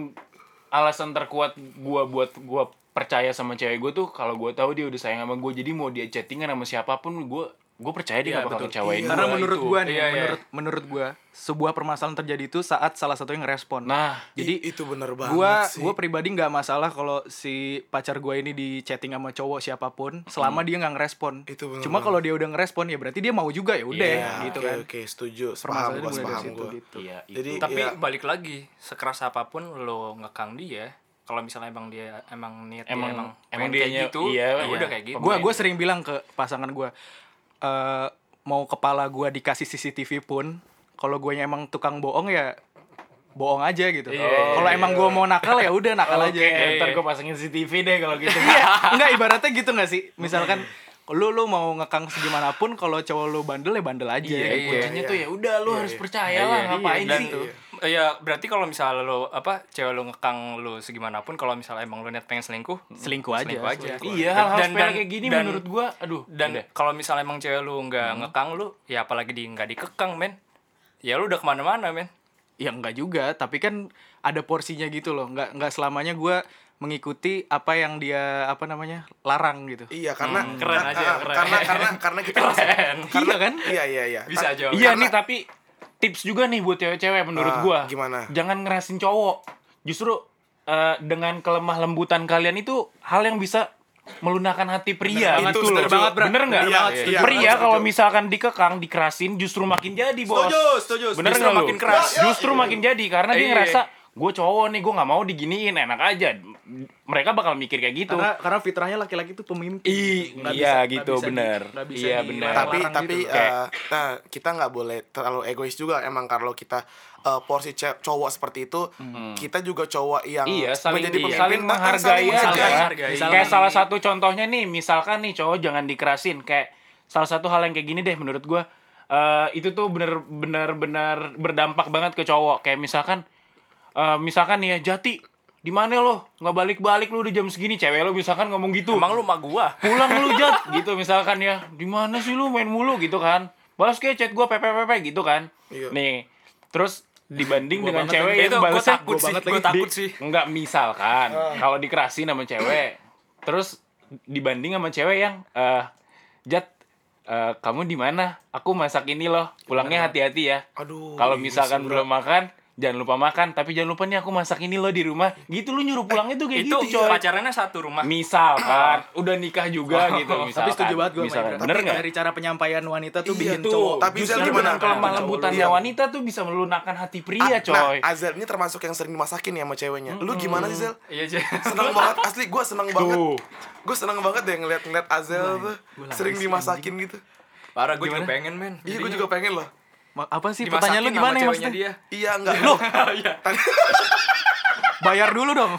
Speaker 5: alasan terkuat gua buat gua percaya sama cewek gua tuh kalau gua tahu dia udah sayang sama gua jadi mau dia chattingan sama siapapun gua gua percaya dia
Speaker 1: Iya,
Speaker 5: gak bakal
Speaker 1: betul.
Speaker 5: ngecewain
Speaker 1: Karena
Speaker 5: gua.
Speaker 1: menurut
Speaker 3: itu.
Speaker 1: gua nih,
Speaker 3: Iya, iya.
Speaker 1: menurut menurut gua sebuah permasalahan terjadi itu saat salah satu yang ngerespon.
Speaker 5: nah
Speaker 1: jadi
Speaker 2: I- itu bener banget
Speaker 1: gua
Speaker 2: sih.
Speaker 1: gua pribadi nggak masalah kalau si pacar gua ini di chatting sama cowok siapapun selama dia nggak ngerespon.
Speaker 2: Itu bener
Speaker 1: Cuma
Speaker 2: banget.
Speaker 1: kalau dia udah ngerespon ya berarti dia mau juga ya udah
Speaker 5: Iya,
Speaker 1: gitu
Speaker 2: Oke,
Speaker 1: kan.
Speaker 2: Oke, setuju. Paham
Speaker 1: Permasalahannya
Speaker 2: gua,
Speaker 1: mulai dari
Speaker 2: paham
Speaker 1: situ
Speaker 2: gua.
Speaker 1: gitu.
Speaker 5: iya itu.
Speaker 2: Jadi
Speaker 3: Tapi
Speaker 2: ya,
Speaker 3: balik lagi, sekeras apapun lo ngekang dia, kalau misalnya emang dia emang niat dia
Speaker 5: Emang-
Speaker 3: emang
Speaker 5: emang
Speaker 3: pengen kayak
Speaker 5: dianya-
Speaker 3: gitu,
Speaker 5: iya,
Speaker 3: ya
Speaker 5: iya.
Speaker 3: udah kayak gitu.
Speaker 1: Gua gua sering bilang ke pasangan gua eh mau kepala gua dikasih CCTV pun kalau guanya emang tukang bohong ya bohong aja gitu.
Speaker 3: Iya,
Speaker 1: kalau
Speaker 3: iya,
Speaker 1: emang gua mau nakal ya udah nakal aja.
Speaker 5: Oke,
Speaker 1: Iya,
Speaker 5: ntar gua pasangin CCTV deh kalau gitu.
Speaker 1: Enggak ibaratnya gitu gak sih? Misalkan lu lu mau ngekang segimanapun kalau cowok lu bandel ya bandel aja.
Speaker 5: Iya,
Speaker 1: Gitu.
Speaker 5: kuncinya tuh ya udah lu harus percaya lah ngapain
Speaker 3: iya. Dan-
Speaker 5: sih?
Speaker 3: Iya, berarti kalau misalnya lo apa cewek lo ngekang lo segimanapun kalau misalnya emang lo niat pengen selingkuh,
Speaker 1: Selingkuh aja.
Speaker 3: selingkuh aja.
Speaker 5: Iya, hal-hal
Speaker 3: Dan-
Speaker 5: sepele
Speaker 3: dan-
Speaker 5: kayak gini
Speaker 3: dan-
Speaker 5: menurut gua aduh.
Speaker 3: Dan
Speaker 5: udah.
Speaker 3: kalau misalnya emang cewek lu nggak ngekang lu, ya apalagi di nggak dikekang men, ya lu udah kemana-mana men.
Speaker 1: Ya enggak juga, tapi kan ada porsinya gitu loh. Enggak enggak selamanya gua mengikuti apa yang dia apa namanya? larang gitu.
Speaker 2: Iya, karena
Speaker 3: keren
Speaker 2: kar-
Speaker 3: aja,
Speaker 2: ah,
Speaker 3: keren.
Speaker 2: karena karena karena kita
Speaker 1: Iya kan?
Speaker 2: Iya, iya, iya.
Speaker 3: Bisa
Speaker 2: Kar-
Speaker 3: aja.
Speaker 5: Iya
Speaker 2: Karena-
Speaker 5: nih tapi tips juga nih buat cewek-cewek
Speaker 2: Ah,
Speaker 5: menurut gua.
Speaker 2: gimana?
Speaker 5: Jangan ngerasin cowok. Justru eh, dengan kelemah lembutan kalian itu hal yang bisa melunakkan hati pria
Speaker 2: Bener banget,
Speaker 5: gitu
Speaker 2: setuju
Speaker 5: loh.
Speaker 2: banget, Bra.
Speaker 5: Bener nggak?
Speaker 2: Bener banget, setuju.
Speaker 5: Pria
Speaker 2: Setuju.
Speaker 5: kalau misalkan dikekang, dikerasin justru makin jadi bos.
Speaker 2: Setuju, setuju, setuju.
Speaker 5: Bener
Speaker 3: Justru
Speaker 5: nggak lu?
Speaker 3: makin keras.
Speaker 5: Justru makin jadi karena dia
Speaker 3: Iya.
Speaker 5: ngerasa gue cowok nih gue nggak mau diginiin enak aja. Mereka bakal mikir kayak gitu.
Speaker 1: Karena karena fitrahnya laki-laki itu pemimpin.
Speaker 5: Ih,
Speaker 1: Nggak
Speaker 5: iya
Speaker 1: bisa- nggak bisa
Speaker 5: gitu,
Speaker 1: di-
Speaker 5: bener.
Speaker 1: nggak bisa
Speaker 5: Iya,
Speaker 1: di-
Speaker 5: bener.
Speaker 2: tapi
Speaker 1: larang
Speaker 2: tapi
Speaker 1: gitu.
Speaker 5: Kayak-
Speaker 2: eh, nah, kita nggak boleh terlalu egois juga emang kalau kita eh, porsi ce- cowok seperti itu kita juga cowok yang
Speaker 5: Iya, saling
Speaker 2: menjadi
Speaker 5: iya,
Speaker 2: pemimpin
Speaker 5: saling
Speaker 2: tapi
Speaker 5: menghargai,
Speaker 2: saling
Speaker 5: saling
Speaker 2: menghargai.
Speaker 5: menghargai. Kayak salah satu contohnya nih, misalkan nih cowok jangan dikerasin kayak salah satu hal yang kayak gini deh menurut gua. eh, itu tuh bener-bener bener berdampak banget ke cowok. Kayak misalkan eh, misalkan nih ya Jati, di mana lo? Nggak balik-balik lu udah jam segini, cewek lo misalkan ngomong gitu.
Speaker 3: Emang lu sama gua.
Speaker 5: pulang lu Jat gitu misalkan ya. Di mana sih lu main mulu gitu kan. Balas ke chat gua pepepepe gitu kan.
Speaker 2: Iya.
Speaker 5: Nih. Terus dibanding dengan
Speaker 1: banget
Speaker 5: cewek
Speaker 3: lagi.
Speaker 5: yang
Speaker 3: Itu gua
Speaker 5: balasnya
Speaker 3: takut
Speaker 5: gua
Speaker 3: sih,
Speaker 5: banget
Speaker 3: gua
Speaker 5: lagi.
Speaker 3: takut
Speaker 5: Di-
Speaker 3: sih.
Speaker 5: Enggak misalkan kalau dikerasin sama cewek. Terus dibanding sama cewek yang eh Jat eh, kamu di mana? Aku masak ini loh. Pulangnya hati-hati ya.
Speaker 2: Aduh,
Speaker 5: Kalau
Speaker 2: iya sih,
Speaker 5: misalkan belum makan, jangan lupa makan. Tapi jangan lupa nih aku masak ini loh di rumah. Gitu lu nyuruh pulangnya tuh kayak
Speaker 3: itu iya,
Speaker 5: gitu, coy
Speaker 3: pacarannya satu rumah.
Speaker 5: misalkan udah nikah juga gitu misalkan
Speaker 1: Tapi setuju banget gue
Speaker 5: misalkan bener nggak kan
Speaker 1: Dari cara penyampaian wanita tuh
Speaker 2: Iya
Speaker 1: bikin
Speaker 2: tuh,
Speaker 1: cowok.
Speaker 2: tapi
Speaker 1: justru
Speaker 2: Zel gimana?
Speaker 1: dengan
Speaker 5: dengan kelemah
Speaker 2: Cowok
Speaker 5: lembutannya
Speaker 2: liat.
Speaker 5: wanita tuh bisa melunakkan hati
Speaker 2: Ah,
Speaker 5: pria Iya, coy
Speaker 2: Nah, Azel ini termasuk yang sering dimasakin ya sama ceweknya. Lu gimana sih, Zel?
Speaker 3: Iya, J.
Speaker 2: Seneng banget, asli gue seneng banget. Gue seneng banget deh ngeliat-ngeliat Azel tuh sering dimasakin gitu.
Speaker 3: Parah gua juga pengen men.
Speaker 2: Iya, gue juga pengen loh.
Speaker 1: Ma- apa sih pertanyaan
Speaker 3: Dimasakin
Speaker 1: lu
Speaker 3: sama
Speaker 1: gimana ya
Speaker 3: ceweknya
Speaker 1: maksudnya?
Speaker 3: Dia.
Speaker 2: Iya, enggak. Lu
Speaker 1: Bayar dulu dong.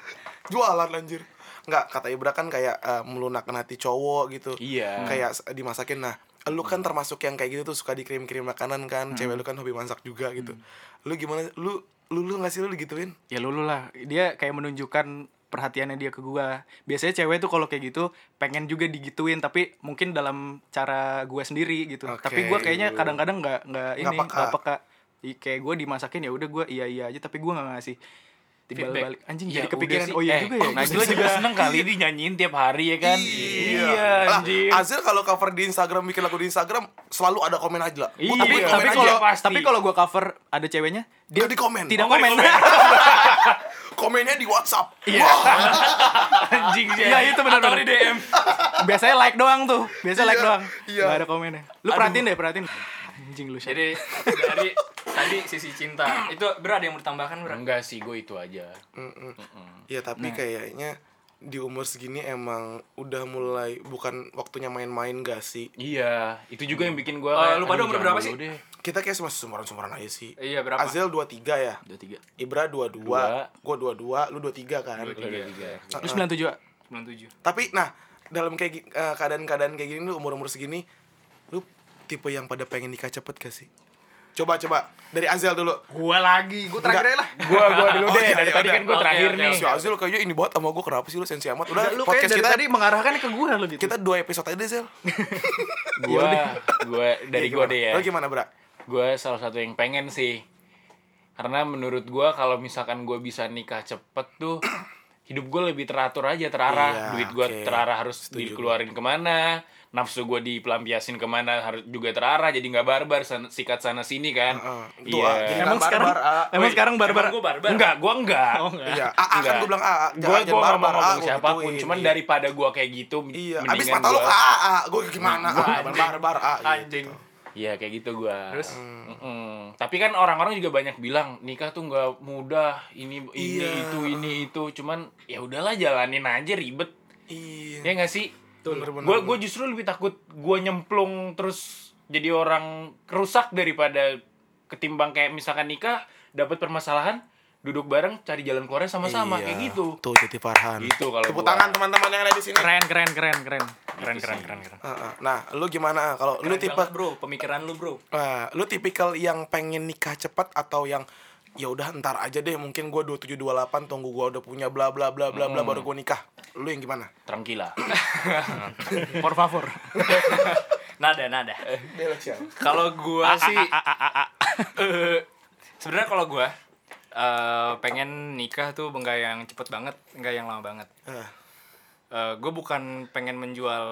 Speaker 2: jualan anjir. Enggak, kata Ibra kan kayak eh, melunakkan hati cowok gitu.
Speaker 5: Iya.
Speaker 2: Kayak s- dimasakin. Nah, lu kan termasuk yang kayak gitu tuh suka dikirim-kirim makanan kan. Cewek lu kan hobi masak juga gitu. Lu gimana? Lu lu lu nggak sih lu digituin?
Speaker 1: ya lulu lah. Dia kayak menunjukkan perhatiannya dia ke gua. Biasanya cewek tuh kalau kayak gitu pengen juga digituin tapi mungkin dalam cara gua sendiri gitu.
Speaker 2: Oke. iya.
Speaker 1: Tapi gua kayaknya kadang-kadang nggak nggak
Speaker 2: Nggak
Speaker 1: ini
Speaker 2: peka.
Speaker 1: nggak peka. I- Kayak gua dimasakin ya udah gua iya iya aja tapi gua nggak ngasih tiba
Speaker 3: Feedback.
Speaker 1: balik anjing
Speaker 5: Ya
Speaker 1: jadi kepikiran
Speaker 5: udah sih.
Speaker 1: oh iya
Speaker 5: Eh,
Speaker 1: juga ya
Speaker 5: Najila juga seneng kali dinyanyiin tiap hari ya kan iya
Speaker 2: Ah,
Speaker 5: anjir
Speaker 2: Azel kalau cover di Instagram bikin lagu di Instagram selalu ada komen aja lah.
Speaker 5: Iya,
Speaker 1: tapi
Speaker 5: komen
Speaker 1: tapi
Speaker 5: aja,
Speaker 1: kalau
Speaker 5: pasti.
Speaker 1: tapi kalau gua cover ada ceweknya dia
Speaker 2: Dia di komen.
Speaker 1: tidak
Speaker 2: Oh,
Speaker 1: komen.
Speaker 2: komennya di WhatsApp.
Speaker 5: anjing sih
Speaker 1: Iya itu benar
Speaker 3: Atau di DM.
Speaker 1: Biasanya like doang tuh. Biasanya like
Speaker 2: Iya,
Speaker 1: doang.
Speaker 2: iya.
Speaker 1: Nggak ada komennya. Lu perhatiin deh, perhatiin. Anjing lu Syed.
Speaker 3: Jadi dari tadi sisi cinta itu bro ada yang mau ditambahkan bro?
Speaker 5: Enggak sih, gue itu aja.
Speaker 2: Ya tapi kayaknya di umur segini emang udah mulai bukan waktunya main-main gak sih?
Speaker 5: Iya, itu juga yang bikin gue.
Speaker 3: Eh, lu pada umur berapa sih?"
Speaker 2: Kita kayak semua sumuran-sumuran aja sih.
Speaker 3: Iya, berapa?
Speaker 2: Azel 23 ya?
Speaker 5: Dua tiga.
Speaker 2: Ibra 22,
Speaker 5: Dua.
Speaker 2: gua 22, lu 23 kan?
Speaker 1: Lu 97 Wak?
Speaker 3: 97.
Speaker 2: Tapi nah, dalam kayak gi- eh, keadaan-keadaan kayak gini lu umur-umur segini lu tipe yang pada pengen nikah cepet gak sih? Coba coba dari Azel dulu.
Speaker 1: Gua lagi, gua terakhir aja lah.
Speaker 5: Gue gue dulu
Speaker 2: Oh,
Speaker 5: deh.
Speaker 2: iya,
Speaker 5: Dari
Speaker 2: iya,
Speaker 5: tadi
Speaker 2: udah.
Speaker 5: kan gue
Speaker 3: Oke,
Speaker 5: terakhir
Speaker 3: oke,
Speaker 5: nih.
Speaker 2: Si Azil kayaknya ini banget sama gua kenapa sih lu sensi amat? Udah
Speaker 1: Lu kayak
Speaker 2: podcast
Speaker 1: dari
Speaker 2: kita
Speaker 1: tadi mengarahkan ke gua lu gitu.
Speaker 2: kita dua episode aja deh, Zel.
Speaker 5: Gue gue dari gue deh ya.
Speaker 2: Lu Iya, gimana, Bra?
Speaker 5: Gue salah satu yang pengen sih. Karena menurut gue kalau misalkan gue bisa nikah cepet tuh hidup gue lebih teratur aja terarah
Speaker 2: Iya,
Speaker 5: duit gue
Speaker 2: oke.
Speaker 5: terarah harus
Speaker 2: Setuju.
Speaker 5: dikeluarin kemana nafsu gue dipelampiasin kemana harus juga terarah jadi nggak barbar sana- sikat sana sini kan
Speaker 2: Heeh. Itu,
Speaker 5: iya
Speaker 2: ah, jadi
Speaker 1: Emang
Speaker 2: barbar,
Speaker 1: sekarang
Speaker 2: ah.
Speaker 1: emang
Speaker 3: Woi,
Speaker 1: sekarang barbar.
Speaker 3: Eh, emang gua barbar.
Speaker 5: enggak gue enggak
Speaker 1: Oh enggak.
Speaker 2: Iya, AA kan gue bilang AA,
Speaker 5: gue gue
Speaker 2: barbar,
Speaker 5: ngomong
Speaker 2: AA,
Speaker 5: ngomong
Speaker 2: gua
Speaker 5: siapapun
Speaker 2: gituin.
Speaker 5: cuman daripada gue kayak gitu
Speaker 2: Iya,
Speaker 5: mendingan
Speaker 2: abis mata lu
Speaker 5: gua-
Speaker 2: ke AA, gue gimana? AA, barbar, Ah, AA
Speaker 3: Anjing.
Speaker 5: Iya kayak gitu gue terus tapi kan orang-orang juga banyak bilang nikah tuh nggak mudah ini ini
Speaker 2: Iya.
Speaker 5: itu ini itu cuman ya udahlah jalanin aja ribet
Speaker 2: Iya.
Speaker 5: ya nggak sih
Speaker 2: Bener, bener,
Speaker 5: gue gue justru lebih takut gue nyemplung terus jadi orang kerusak daripada ketimbang kayak misalkan nikah dapat permasalahan duduk bareng cari jalan keluarnya sama-sama
Speaker 2: Iya.
Speaker 5: kayak gitu
Speaker 2: Tuh Titi Farhan.
Speaker 5: Gitu kalau
Speaker 2: Tepuk
Speaker 5: gua.
Speaker 2: tangan teman-teman yang ada di sini.
Speaker 1: Keren keren keren keren.
Speaker 5: keren keren keren keren
Speaker 2: Heeh. Nah, lu gimana? Kalau lu
Speaker 3: Keren
Speaker 2: tipe
Speaker 3: banget, bro, pemikiran lu bro.
Speaker 2: eh, lu tipikal yang pengen nikah cepat atau yang ya udah ntar aja deh mungkin gua 27 28 tunggu gua udah punya bla bla bla bla bla baru gua nikah. Lu yang gimana?
Speaker 5: Tranquila.
Speaker 1: Por favor.
Speaker 3: Nada nada. Ah,
Speaker 2: Belok
Speaker 3: Kalau gua sih Eh, sebenarnya kalau gua eh, pengen nikah tuh enggak yang cepet banget, enggak yang lama banget.
Speaker 2: Ah.
Speaker 3: Eh gue bukan pengen menjual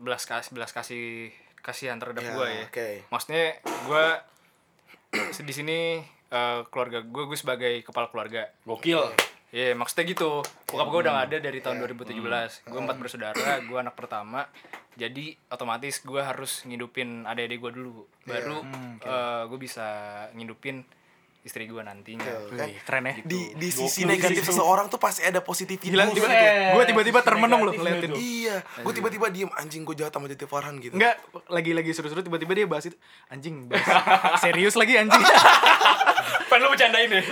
Speaker 3: belas kasih belas kasih kasihan terhadap
Speaker 2: Ya,
Speaker 3: gue ya.
Speaker 2: oke.
Speaker 3: Maksudnya gue di sini eh, keluarga gue gue sebagai kepala keluarga.
Speaker 5: Gokil.
Speaker 3: Iya, maksudnya gitu. Bokap gue
Speaker 2: Hmm.
Speaker 3: udah gak ada dari
Speaker 2: Ya.
Speaker 3: tahun 2017. Gue empat bersaudara, gue anak pertama. Jadi otomatis gue harus ngidupin adik-adik gue dulu. Baru
Speaker 2: Ya. Hmm,
Speaker 3: gue bisa ngidupin istri gue nantinya.
Speaker 2: kan?
Speaker 1: Keren ya.
Speaker 2: Di di sisi negatif seseorang tuh pasti ada positif
Speaker 1: Gila tiba-tiba
Speaker 5: ya?
Speaker 1: gua tiba-tiba termenung lu ngeliatin.
Speaker 5: Negatif
Speaker 2: Iya, gue tiba-tiba diem anjing gue jahat sama Titi Farhan gitu.
Speaker 1: Enggak, lagi-lagi seru-seru tiba-tiba dia bahas itu anjing bahas serius lagi anjing.
Speaker 3: Pengen lu bercandain
Speaker 5: ya?
Speaker 3: deh.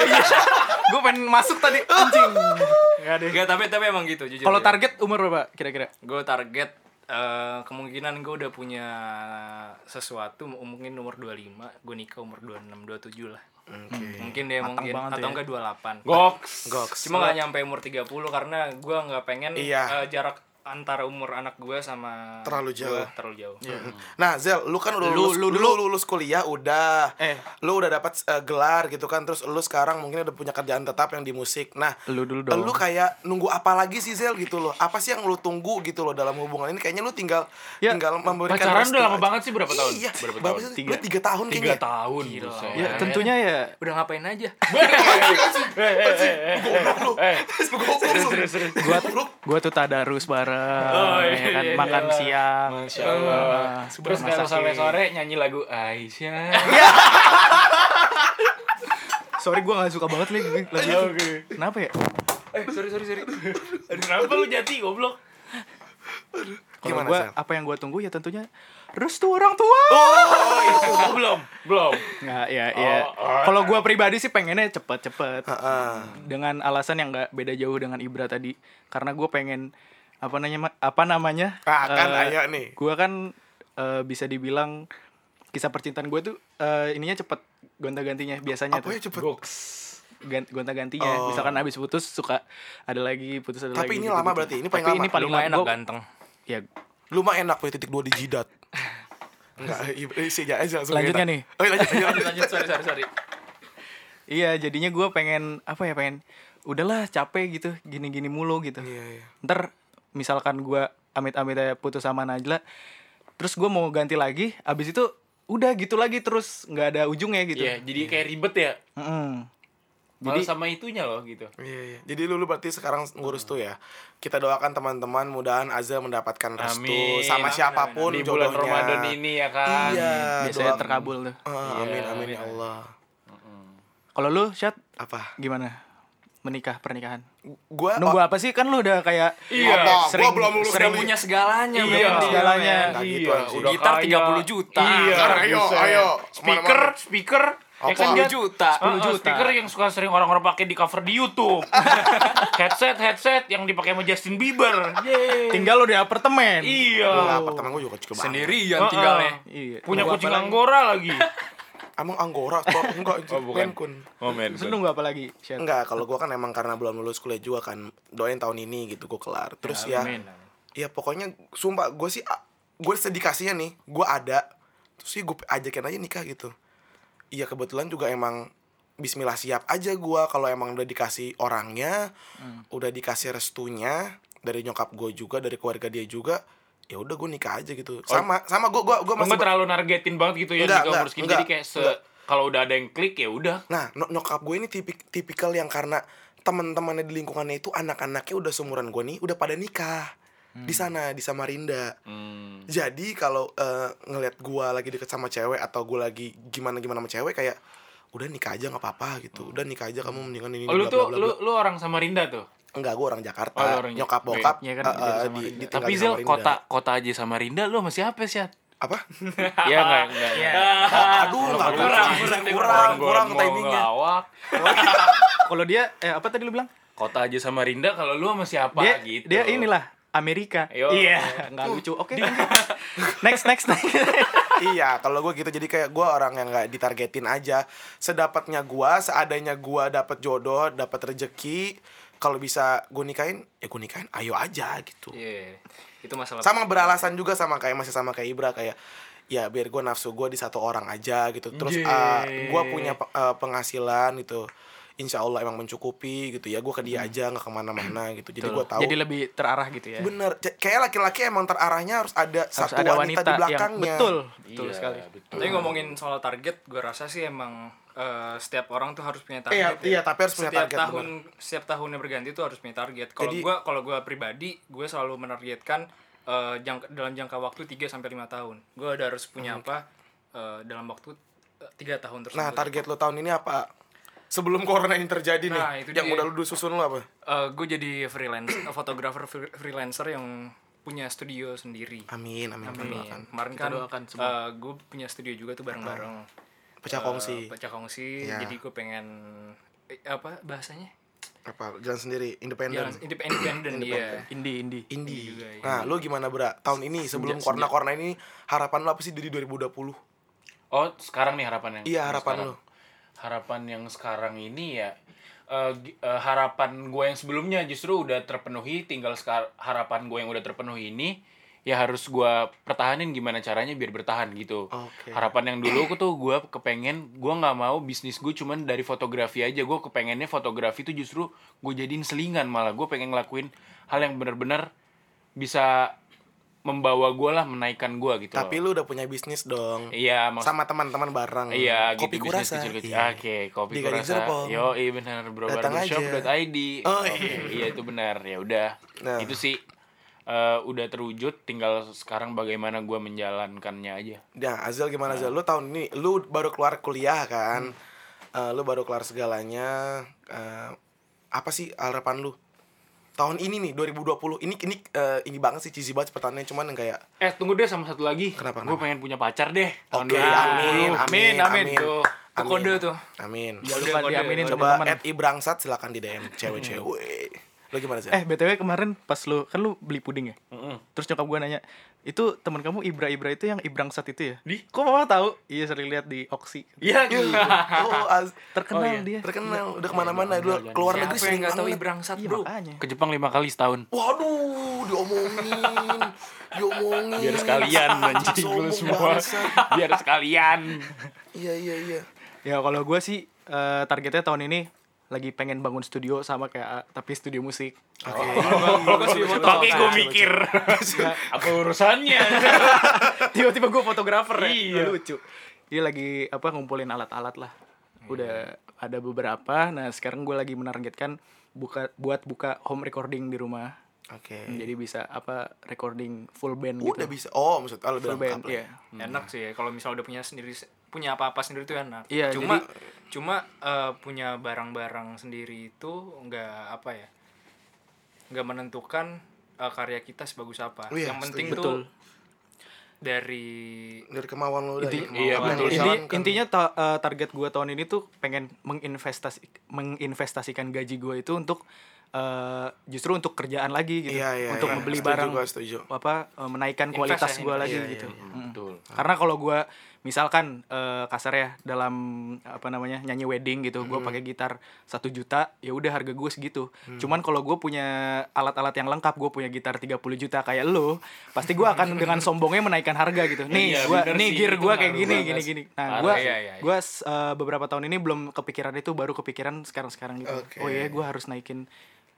Speaker 1: gue pengen masuk tadi anjing. Enggak deh.
Speaker 3: Gak, tapi tapi emang gitu jujur.
Speaker 1: Kalau target umur berapa kira-kira?
Speaker 3: gue target eh, kemungkinan gue udah punya sesuatu m- mungkin umur 25, gue nikah umur 26, 27 lah. Mungkin deh mungkin
Speaker 1: banget tuh
Speaker 3: atau
Speaker 1: ya.
Speaker 3: enggak 28.
Speaker 5: Goks.
Speaker 2: Goks.
Speaker 3: Cuma nggak nyampe umur 30 karena gue nggak pengen
Speaker 2: Iya.
Speaker 3: eh, jarak antara umur anak gue sama
Speaker 2: Terlalu
Speaker 3: gua
Speaker 2: jauh.
Speaker 3: terlalu jauh.
Speaker 2: Nah, Zel, lu kan udah
Speaker 1: Lu-
Speaker 2: lulus,
Speaker 1: lu
Speaker 2: lu,
Speaker 1: dulu.
Speaker 2: lulus kuliah udah.
Speaker 1: Eh.
Speaker 2: Lu udah dapat eh, gelar gitu kan, terus lu sekarang mungkin udah punya kerjaan tetap yang di musik. Nah,
Speaker 1: Lu dulu
Speaker 2: Lu
Speaker 1: dong.
Speaker 2: kayak nunggu apa lagi sih Zel gitu loh? Apa sih yang lu tunggu gitu loh dalam hubungan ini? Kayaknya lu tinggal
Speaker 1: Ya,
Speaker 2: tinggal memberikan
Speaker 5: Pacaran
Speaker 2: restu
Speaker 5: udah lama
Speaker 2: aja.
Speaker 5: banget sih berapa tahun?
Speaker 2: Iya.
Speaker 5: Berapa
Speaker 2: Berapa
Speaker 5: tahun?
Speaker 2: sih? Lu tiga tahun
Speaker 5: Tiga
Speaker 2: kayaknya.
Speaker 5: tahun. Iya,
Speaker 1: Ya, tentunya ya
Speaker 3: Udah ngapain aja?
Speaker 2: Serius, serius, serius.
Speaker 1: gua gua tuh tadarus bareng ya kan makan siang.
Speaker 5: Masya Allah. Terus
Speaker 1: masakin.
Speaker 5: kalau sore-sore nyanyi lagu Aisyah.
Speaker 1: Sorry gua gak suka banget nih lagu itu. Kenapa ya?
Speaker 3: eh, sorry sorry sorry.
Speaker 5: Aduh, Kenapa lu jati goblok?
Speaker 1: Kalau
Speaker 2: Gimana,
Speaker 1: gua
Speaker 2: Sel?
Speaker 1: apa yang gua tunggu ya tentunya restu orang tua.
Speaker 5: Oh, belum, belum.
Speaker 1: Nggak, ya, ya.
Speaker 2: Oh,
Speaker 1: Kalau gua pribadi sih pengennya cepet-cepet. Dengan alasan yang nggak beda jauh dengan Ibra tadi, karena gue pengen apa namanya apa namanya?
Speaker 2: Ah, kan,
Speaker 1: eh,
Speaker 2: ayo nih.
Speaker 1: Gua kan eh, bisa dibilang kisah percintaan gue tuh eh, ininya cepet gonta-gantinya biasanya
Speaker 2: Apa ya
Speaker 1: tuh.
Speaker 2: cepet? Oh.
Speaker 1: Gan- gonta-gantinya. Misalkan habis putus suka ada lagi, putus ada
Speaker 2: Tapi
Speaker 1: lagi.
Speaker 2: ini
Speaker 1: gitu-gitu.
Speaker 2: lama berarti, ini paling
Speaker 1: Tapi
Speaker 2: lama.
Speaker 1: ini paling lama.
Speaker 3: Lumayan enak
Speaker 5: kan?
Speaker 1: Gua-
Speaker 3: ganteng.
Speaker 1: Ya,
Speaker 2: Lu mah enak punya titik dua di jidat. Enggak, isi aja langsung.
Speaker 1: Lanjut
Speaker 2: enak.
Speaker 1: nggak nih?
Speaker 2: Oh, iya, lanjut, lanjut, lanjut.
Speaker 3: Lanjut lanjut sorry sorry sorry.
Speaker 1: iya jadinya gue pengen apa ya pengen udahlah capek gitu gini-gini mulu gitu.
Speaker 2: Iya, iya.
Speaker 1: ntar misalkan gua amit-amit aja putus sama Najla terus gua mau ganti lagi abis
Speaker 2: Iya.
Speaker 1: itu udah gitu lagi terus nggak ada ujungnya gitu
Speaker 5: Iya, jadi kayak ribet ya.
Speaker 1: Mm-mm.
Speaker 5: Malah sama itunya loh gitu.
Speaker 2: Iya, iya. Jadi lu, lu berarti sekarang ngurus tuh ya. Kita doakan teman-teman mudahan Azza mendapatkan restu
Speaker 5: Amin.
Speaker 2: sama siapapun
Speaker 5: Di bulan
Speaker 2: Oh, jodohnya.
Speaker 5: Ramadan ini ya kan.
Speaker 2: Iya,
Speaker 1: biasanya
Speaker 2: doa-
Speaker 1: terkabul tuh.
Speaker 2: Eh, amin, amin ya Allah.
Speaker 1: Kalau lu, Syat,
Speaker 2: Apa?
Speaker 1: gimana? Menikah, pernikahan.
Speaker 2: Gua
Speaker 1: Nunggu apa sih? Kan lu udah kayak
Speaker 2: Iya, gua
Speaker 1: sering-
Speaker 2: belum lulus
Speaker 3: Udah
Speaker 2: dari-
Speaker 3: punya segalanya,
Speaker 1: Iya,
Speaker 3: Bang.
Speaker 1: segalanya.
Speaker 2: Nah, gitu,
Speaker 5: Iya,
Speaker 2: anjing.
Speaker 5: udah
Speaker 3: Gitar
Speaker 5: kaya.
Speaker 3: 30 juta.
Speaker 5: Iya,
Speaker 2: Sekarang ayo,
Speaker 5: buset.
Speaker 2: ayo.
Speaker 5: Speaker,
Speaker 2: Kemana-mana.
Speaker 5: speaker.
Speaker 2: Apa?
Speaker 3: 10
Speaker 5: Jet?
Speaker 3: juta.
Speaker 5: Ah, ah,
Speaker 1: 10 juta.
Speaker 5: speaker yang suka sering orang-orang pakai di cover di YouTube. headset, headset yang dipakai sama Justin Bieber.
Speaker 2: iya,
Speaker 1: Iya.
Speaker 5: Yeay.
Speaker 1: tinggal lu di apartemen.
Speaker 5: Iya.
Speaker 2: Gua nggak, apartemen gua juga cukup banget.
Speaker 3: Sendirian
Speaker 5: Ah,
Speaker 3: tinggalnya.
Speaker 5: ah.
Speaker 1: Iya.
Speaker 5: Punya
Speaker 1: Nunggu
Speaker 5: kucing
Speaker 1: apa lagi?
Speaker 5: anggora lagi.
Speaker 2: Emang anggora kok enggak oh, bukan. Kun.
Speaker 5: Oh, men.
Speaker 2: iya,
Speaker 1: Terus lu nunggu apa lagi, Syat?
Speaker 2: Enggak, kalau gua kan emang karena belum lulus kuliah juga kan. Doain tahun ini gitu gua kelar. Terus ya, ya pokoknya sumpah gue sih gue sedikasinya nih gue ada terus sih gue ajakin aja nikah gitu iya kebetulan juga emang Bismillah siap aja gue kalau emang udah dikasih orangnya udah dikasih restunya dari nyokap gue juga dari keluarga dia juga ya udah gue nikah aja gitu sama sama gue gue gue masih
Speaker 5: Enggak terlalu nargetin banget gitu ya
Speaker 2: Enggak,
Speaker 5: nikah
Speaker 2: enggak,
Speaker 5: umur segini.
Speaker 2: enggak,
Speaker 5: jadi kayak se
Speaker 2: enggak.
Speaker 5: kalau udah ada yang klik ya udah.
Speaker 2: Nah, no- nyokap gue ini tipik tipikal yang karena teman-temannya di lingkungannya itu anak-anaknya udah seumuran gue nih, udah pada nikah. Di sana di Samarinda. Jadi kalau eh, ngelihat gue lagi deket sama cewek atau gue lagi gimana gimana sama cewek kayak udah nikah aja nggak apa-apa gitu. Udah nikah aja kamu mendingan ini. ini,
Speaker 5: Oh, lu
Speaker 2: bla,
Speaker 5: tuh
Speaker 2: bla, bla,
Speaker 5: lu
Speaker 2: bla."
Speaker 5: lu orang Samarinda tuh.
Speaker 2: enggak gue orang Jakarta.
Speaker 5: Oh, lu orang-
Speaker 2: nyokap bokap
Speaker 1: Iya kan,
Speaker 2: eh,
Speaker 1: kita
Speaker 2: eh,
Speaker 1: di
Speaker 2: di,
Speaker 1: Samarinda.
Speaker 2: ditinggal
Speaker 5: Tapi
Speaker 2: di
Speaker 5: Zel
Speaker 2: Samarinda.
Speaker 5: kota kota aja Samarinda lu masih apa sih?
Speaker 2: apa?
Speaker 5: Iya enggak enggak.
Speaker 2: Aduh, nggak kurang, kurang, kurang, kurang timingnya.
Speaker 5: Lawak.
Speaker 1: Kalau dia eh apa tadi lu bilang?
Speaker 5: Kota aja Samarinda kalau lu sama siapa
Speaker 1: dia
Speaker 5: gitu.
Speaker 1: dia inilah Amerika.
Speaker 5: Yo.
Speaker 1: Iya, nggak lucu. Oke. next next next.
Speaker 2: iya kalau gue gitu jadi kayak gue orang yang nggak ditargetin aja sedapatnya gue seadanya gue dapat jodoh dapat rezeki kalau bisa gue nikahin ya gue nikahin ayo aja gitu
Speaker 3: Iya. Itu masalah.
Speaker 2: sama beralasan juga sama kayak masih sama kayak Ibra kayak ya biar gue nafsu gue di satu orang aja gitu terus gue punya pe- eh, penghasilan gitu Insya Allah emang mencukupi gitu ya gue ke dia aja nggak kemana-mana gitu jadi gue tahu
Speaker 1: Hmm. Jadi lebih terarah gitu ya.
Speaker 2: bener C- kayak laki-laki emang terarahnya harus ada
Speaker 1: Harus
Speaker 2: satu wanita,
Speaker 1: ada
Speaker 2: di
Speaker 1: wanita, yang Ya
Speaker 2: belakangnya
Speaker 1: betul, betul sekali.
Speaker 3: Tapi ngomongin soal target, gue rasa sih emang eh, setiap orang tuh harus punya target.
Speaker 2: Iya,
Speaker 3: ya.
Speaker 2: iya, tapi harus punya
Speaker 3: setiap
Speaker 2: target,
Speaker 3: Tahun, setiap tahunnya berganti tuh harus punya target. Kalau
Speaker 2: Jadi-
Speaker 3: gue, kalau gue pribadi, gue selalu menargetkan eh, jangk- dalam jangka waktu 3 sampai lima tahun. Gue udah harus punya
Speaker 2: Hmm.
Speaker 3: apa eh, dalam waktu eh, tiga tahun tersebut.
Speaker 2: Nah, target lo tahun ini apa? Sebelum corona ini terjadi nih,
Speaker 3: Nah, itu
Speaker 2: yang
Speaker 3: dia.
Speaker 2: udah lu susun lu apa?
Speaker 3: gue Eh, jadi freelance, eh, fotografer fr- freelancer yang punya studio sendiri.
Speaker 2: Amin, amin, amin. doakan.
Speaker 3: Kemarin kan gue punya studio juga tuh bareng-bareng.
Speaker 2: Pecah kongsi.
Speaker 3: Pecah kongsi.
Speaker 2: Iya.
Speaker 3: Eh, Jadi gue pengen eh, apa bahasanya?
Speaker 2: apa? Jalan sendiri,
Speaker 3: Jalan
Speaker 2: independen.
Speaker 3: independen iya. dia.
Speaker 1: Indie indie.
Speaker 2: Indie.
Speaker 3: juga, iya.
Speaker 2: Nah, lu gimana, Bra? Tahun ini sebelum corona-corona ini harapan lu apa sih dari 2020?
Speaker 5: Oh, sekarang nih harapan yang
Speaker 2: Iya, harapan
Speaker 5: sekarang.
Speaker 2: lu.
Speaker 5: Harapan yang sekarang ini ya eh, gi- eh, harapan gue yang sebelumnya justru udah terpenuhi, tinggal sekar harapan gue yang udah terpenuhi ini ya harus gue pertahanin gimana caranya biar bertahan gitu.
Speaker 2: Oke.
Speaker 5: Harapan yang dulu aku tuh gue kepengen gue nggak mau bisnis gue cuman dari fotografi aja gue kepengennya fotografi tuh justru gue jadiin selingan malah gue pengen ngelakuin hal yang benar-benar bisa membawa gue lah menaikkan gue gitu.
Speaker 2: Tapi lu
Speaker 5: loh.
Speaker 2: udah punya bisnis dong.
Speaker 5: Iya, maksud-
Speaker 2: Sama teman-teman bareng.
Speaker 5: Iya,
Speaker 2: kopi
Speaker 5: gitu bisnis
Speaker 2: kurasa.
Speaker 5: kecil-kecil.
Speaker 2: Iya.
Speaker 5: Oke, kopi
Speaker 2: Di Gading
Speaker 5: kurasa.
Speaker 2: Serpong.
Speaker 5: Yo, iya benar bro.
Speaker 2: Datang aja.
Speaker 5: Barbershop.id.
Speaker 2: Oh,
Speaker 5: Oke,
Speaker 2: iya.
Speaker 5: iya itu benar. Ya udah.
Speaker 2: Nah.
Speaker 5: Itu sih eh, udah terwujud. Tinggal sekarang bagaimana gua menjalankannya aja.
Speaker 2: Nah, Azal gimana Azal? Lu tahun ini lu baru keluar kuliah kan? Eh, lu baru keluar segalanya. Eh, apa sih harapan lu? Tahun ini nih 2020. Ini ini eh, ini banget sih cheesy banget pertanyaannya cuman yang kayak
Speaker 5: Eh tunggu deh sama satu lagi.
Speaker 2: Kenapa,
Speaker 5: Gue
Speaker 2: kenapa? Oh.
Speaker 5: pengen punya pacar deh.
Speaker 2: Oke, amin, amin, amin.
Speaker 5: Tuh.
Speaker 3: Tuh kode tuh.
Speaker 2: Amin.
Speaker 1: Jangan lupa
Speaker 3: kode,
Speaker 1: diaminin sama
Speaker 2: Coba
Speaker 1: teman.
Speaker 2: at Ibrangsat silakan di DM cewek-cewek. Lu gimana Azal?
Speaker 1: Eh, BTW kemarin pas lu kan lu beli puding ya? Terus nyokap gua nanya, "Itu teman kamu Ibra-Ibra itu yang Ibrangsat itu ya?" Di? Kok mama tahu? Iya, sering lihat di Oksi.
Speaker 5: Iya.
Speaker 2: oh, Az-
Speaker 1: Terkenal dia.
Speaker 2: terkenal udah kemana mana lu keluar negeri
Speaker 3: Siapa Iya, yang
Speaker 2: sering
Speaker 3: nggak tahu
Speaker 2: banget.
Speaker 3: Ibrangsat
Speaker 1: Iya,
Speaker 3: bro?
Speaker 1: makanya.
Speaker 5: Ke Jepang lima kali setahun.
Speaker 2: Waduh, diomongin, diomongin.
Speaker 5: Biar sekalian anjing lu
Speaker 2: Sombong
Speaker 5: semua.
Speaker 2: bangsat.
Speaker 5: Biar sekalian.
Speaker 2: Iya iya iya.
Speaker 1: Ya kalau gue sih eh, targetnya tahun ini lagi pengen bangun studio sama kayak A, tapi studio musik.
Speaker 2: Iya,
Speaker 5: Pakai gue mikir. Apa urusannya? Iya.
Speaker 1: Tiba-tiba gue fotografer ya. Lucu. Dia lagi apa ngumpulin alat-alat lah. udah
Speaker 5: Iya.
Speaker 1: ada beberapa nah sekarang gue lagi menargetkan buka buat buka home recording di rumah
Speaker 2: Oke.
Speaker 5: Iya.
Speaker 1: jadi bisa apa recording full band gitu
Speaker 2: Udah bisa. Oh, maksud oh, lebih
Speaker 1: full band
Speaker 2: lengkap lah.
Speaker 1: iya
Speaker 3: enak sih ya, kalau misal udah punya sendiri punya apa-apa sendiri tuh enak
Speaker 1: Iya,
Speaker 3: cuma
Speaker 1: jadi-
Speaker 3: cuma eh, punya barang-barang sendiri itu nggak apa ya nggak menentukan eh, karya kita sebagus apa
Speaker 2: Iya,
Speaker 3: yang penting
Speaker 1: setuju.
Speaker 3: tuh dari
Speaker 2: Dari kemauan lo dari
Speaker 1: Inti-
Speaker 2: kemauan
Speaker 5: iya,
Speaker 2: lo yang
Speaker 5: betul.
Speaker 2: lo
Speaker 1: Inti-
Speaker 2: jalankan.
Speaker 1: intinya ta- eh, target gue tahun ini tuh pengen menginvestasi menginvestasikan gaji gue itu untuk eh, justru untuk kerjaan lagi gitu
Speaker 2: Iya, iya,
Speaker 1: untuk
Speaker 2: iya.
Speaker 1: membeli
Speaker 2: Setuju
Speaker 1: barang
Speaker 2: gua, setuju.
Speaker 1: apa eh, menaikkan
Speaker 3: Invest
Speaker 1: kualitas
Speaker 3: ya,
Speaker 1: gue
Speaker 3: invest.
Speaker 1: lagi
Speaker 2: Iya, iya,
Speaker 1: gitu
Speaker 2: iya.
Speaker 1: Mm.
Speaker 5: Betul.
Speaker 1: karena kalau gue misalkan eh, kasar ya dalam apa namanya nyanyi wedding gitu gue pakai gitar satu juta ya udah harga gue segitu cuman kalau gue punya alat-alat yang lengkap gue punya gitar 30 juta kayak lo pasti gue akan dengan sombongnya menaikkan harga gitu nih
Speaker 4: Iya,
Speaker 1: gua
Speaker 4: bener
Speaker 1: nih
Speaker 4: sih,
Speaker 1: gear
Speaker 4: itu
Speaker 1: gue kayak
Speaker 4: ngaruh
Speaker 1: gini
Speaker 4: banget.
Speaker 1: gini gini nah
Speaker 5: Parah,
Speaker 1: gue
Speaker 3: iya, iya, iya.
Speaker 1: gue e, beberapa tahun ini belum kepikiran itu baru kepikiran sekarang sekarang gitu
Speaker 2: Oke.
Speaker 1: oh iya gue harus naikin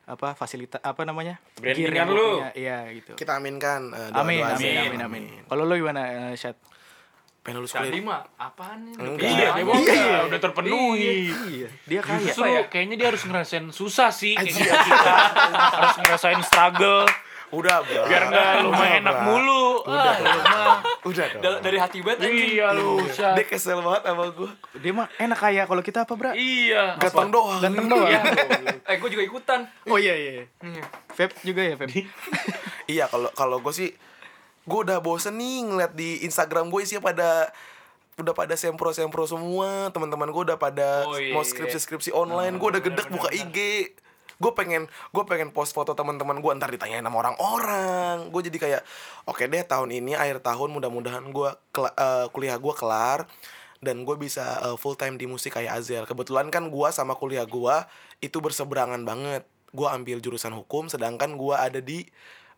Speaker 1: apa fasilitas apa namanya
Speaker 4: Branding
Speaker 1: gear yang
Speaker 4: kan
Speaker 1: gua
Speaker 4: lu.
Speaker 1: punya. iya gitu
Speaker 2: kita aminkan eh, doa-doa
Speaker 1: Amin,
Speaker 2: saya.
Speaker 1: amin, amin, amin. Kalau lo gimana, eh, Chat?
Speaker 2: Pengen lulus
Speaker 3: tadi
Speaker 2: kuliah.
Speaker 3: mah apaan nih
Speaker 2: Enggak.
Speaker 4: Iya, dia mau
Speaker 2: Iya,
Speaker 4: iya, udah terpenuhi.
Speaker 1: Iya, dia kaya.
Speaker 5: Justru kayaknya dia harus ngerasain susah sih kayak
Speaker 2: Anjir.
Speaker 5: kita, kita harus ngerasain struggle
Speaker 2: Udah, Bra.
Speaker 5: biar nggak lu
Speaker 2: Udah,
Speaker 5: mah enak
Speaker 2: Bra.
Speaker 5: mulu. Ah, lu mah.
Speaker 2: Udah dong.
Speaker 3: Da- dari hati banget anjing.
Speaker 5: Iya lu. Syah.
Speaker 2: Dia kesel banget sama gue.
Speaker 1: Dia mah enak kaya kalau kita apa, Bra?
Speaker 5: Iya.
Speaker 2: Ganteng doang.
Speaker 1: Ganteng doang.
Speaker 3: eh gue juga ikutan
Speaker 1: Oh iya iya. Feb juga ya, Feb.
Speaker 2: Iya kalau kalau gue sih gue udah bosen nih ngeliat di Instagram gue isinya pada udah pada sempro-sempro semua teman-teman gue udah pada
Speaker 3: Oh, iya.
Speaker 2: mau
Speaker 3: Nah,
Speaker 2: skripsi-skripsi online gue udah gedek buka IG gue pengen gue pengen post foto teman-teman gue ntar ditanyain sama orang-orang gue jadi kayak oke deh tahun ini akhir tahun mudah-mudahan gue kuliah gue kelar dan gue bisa eh, full time di musik kayak Azel kebetulan kan gue sama kuliah gue itu berseberangan banget gue ambil jurusan hukum sedangkan gue ada di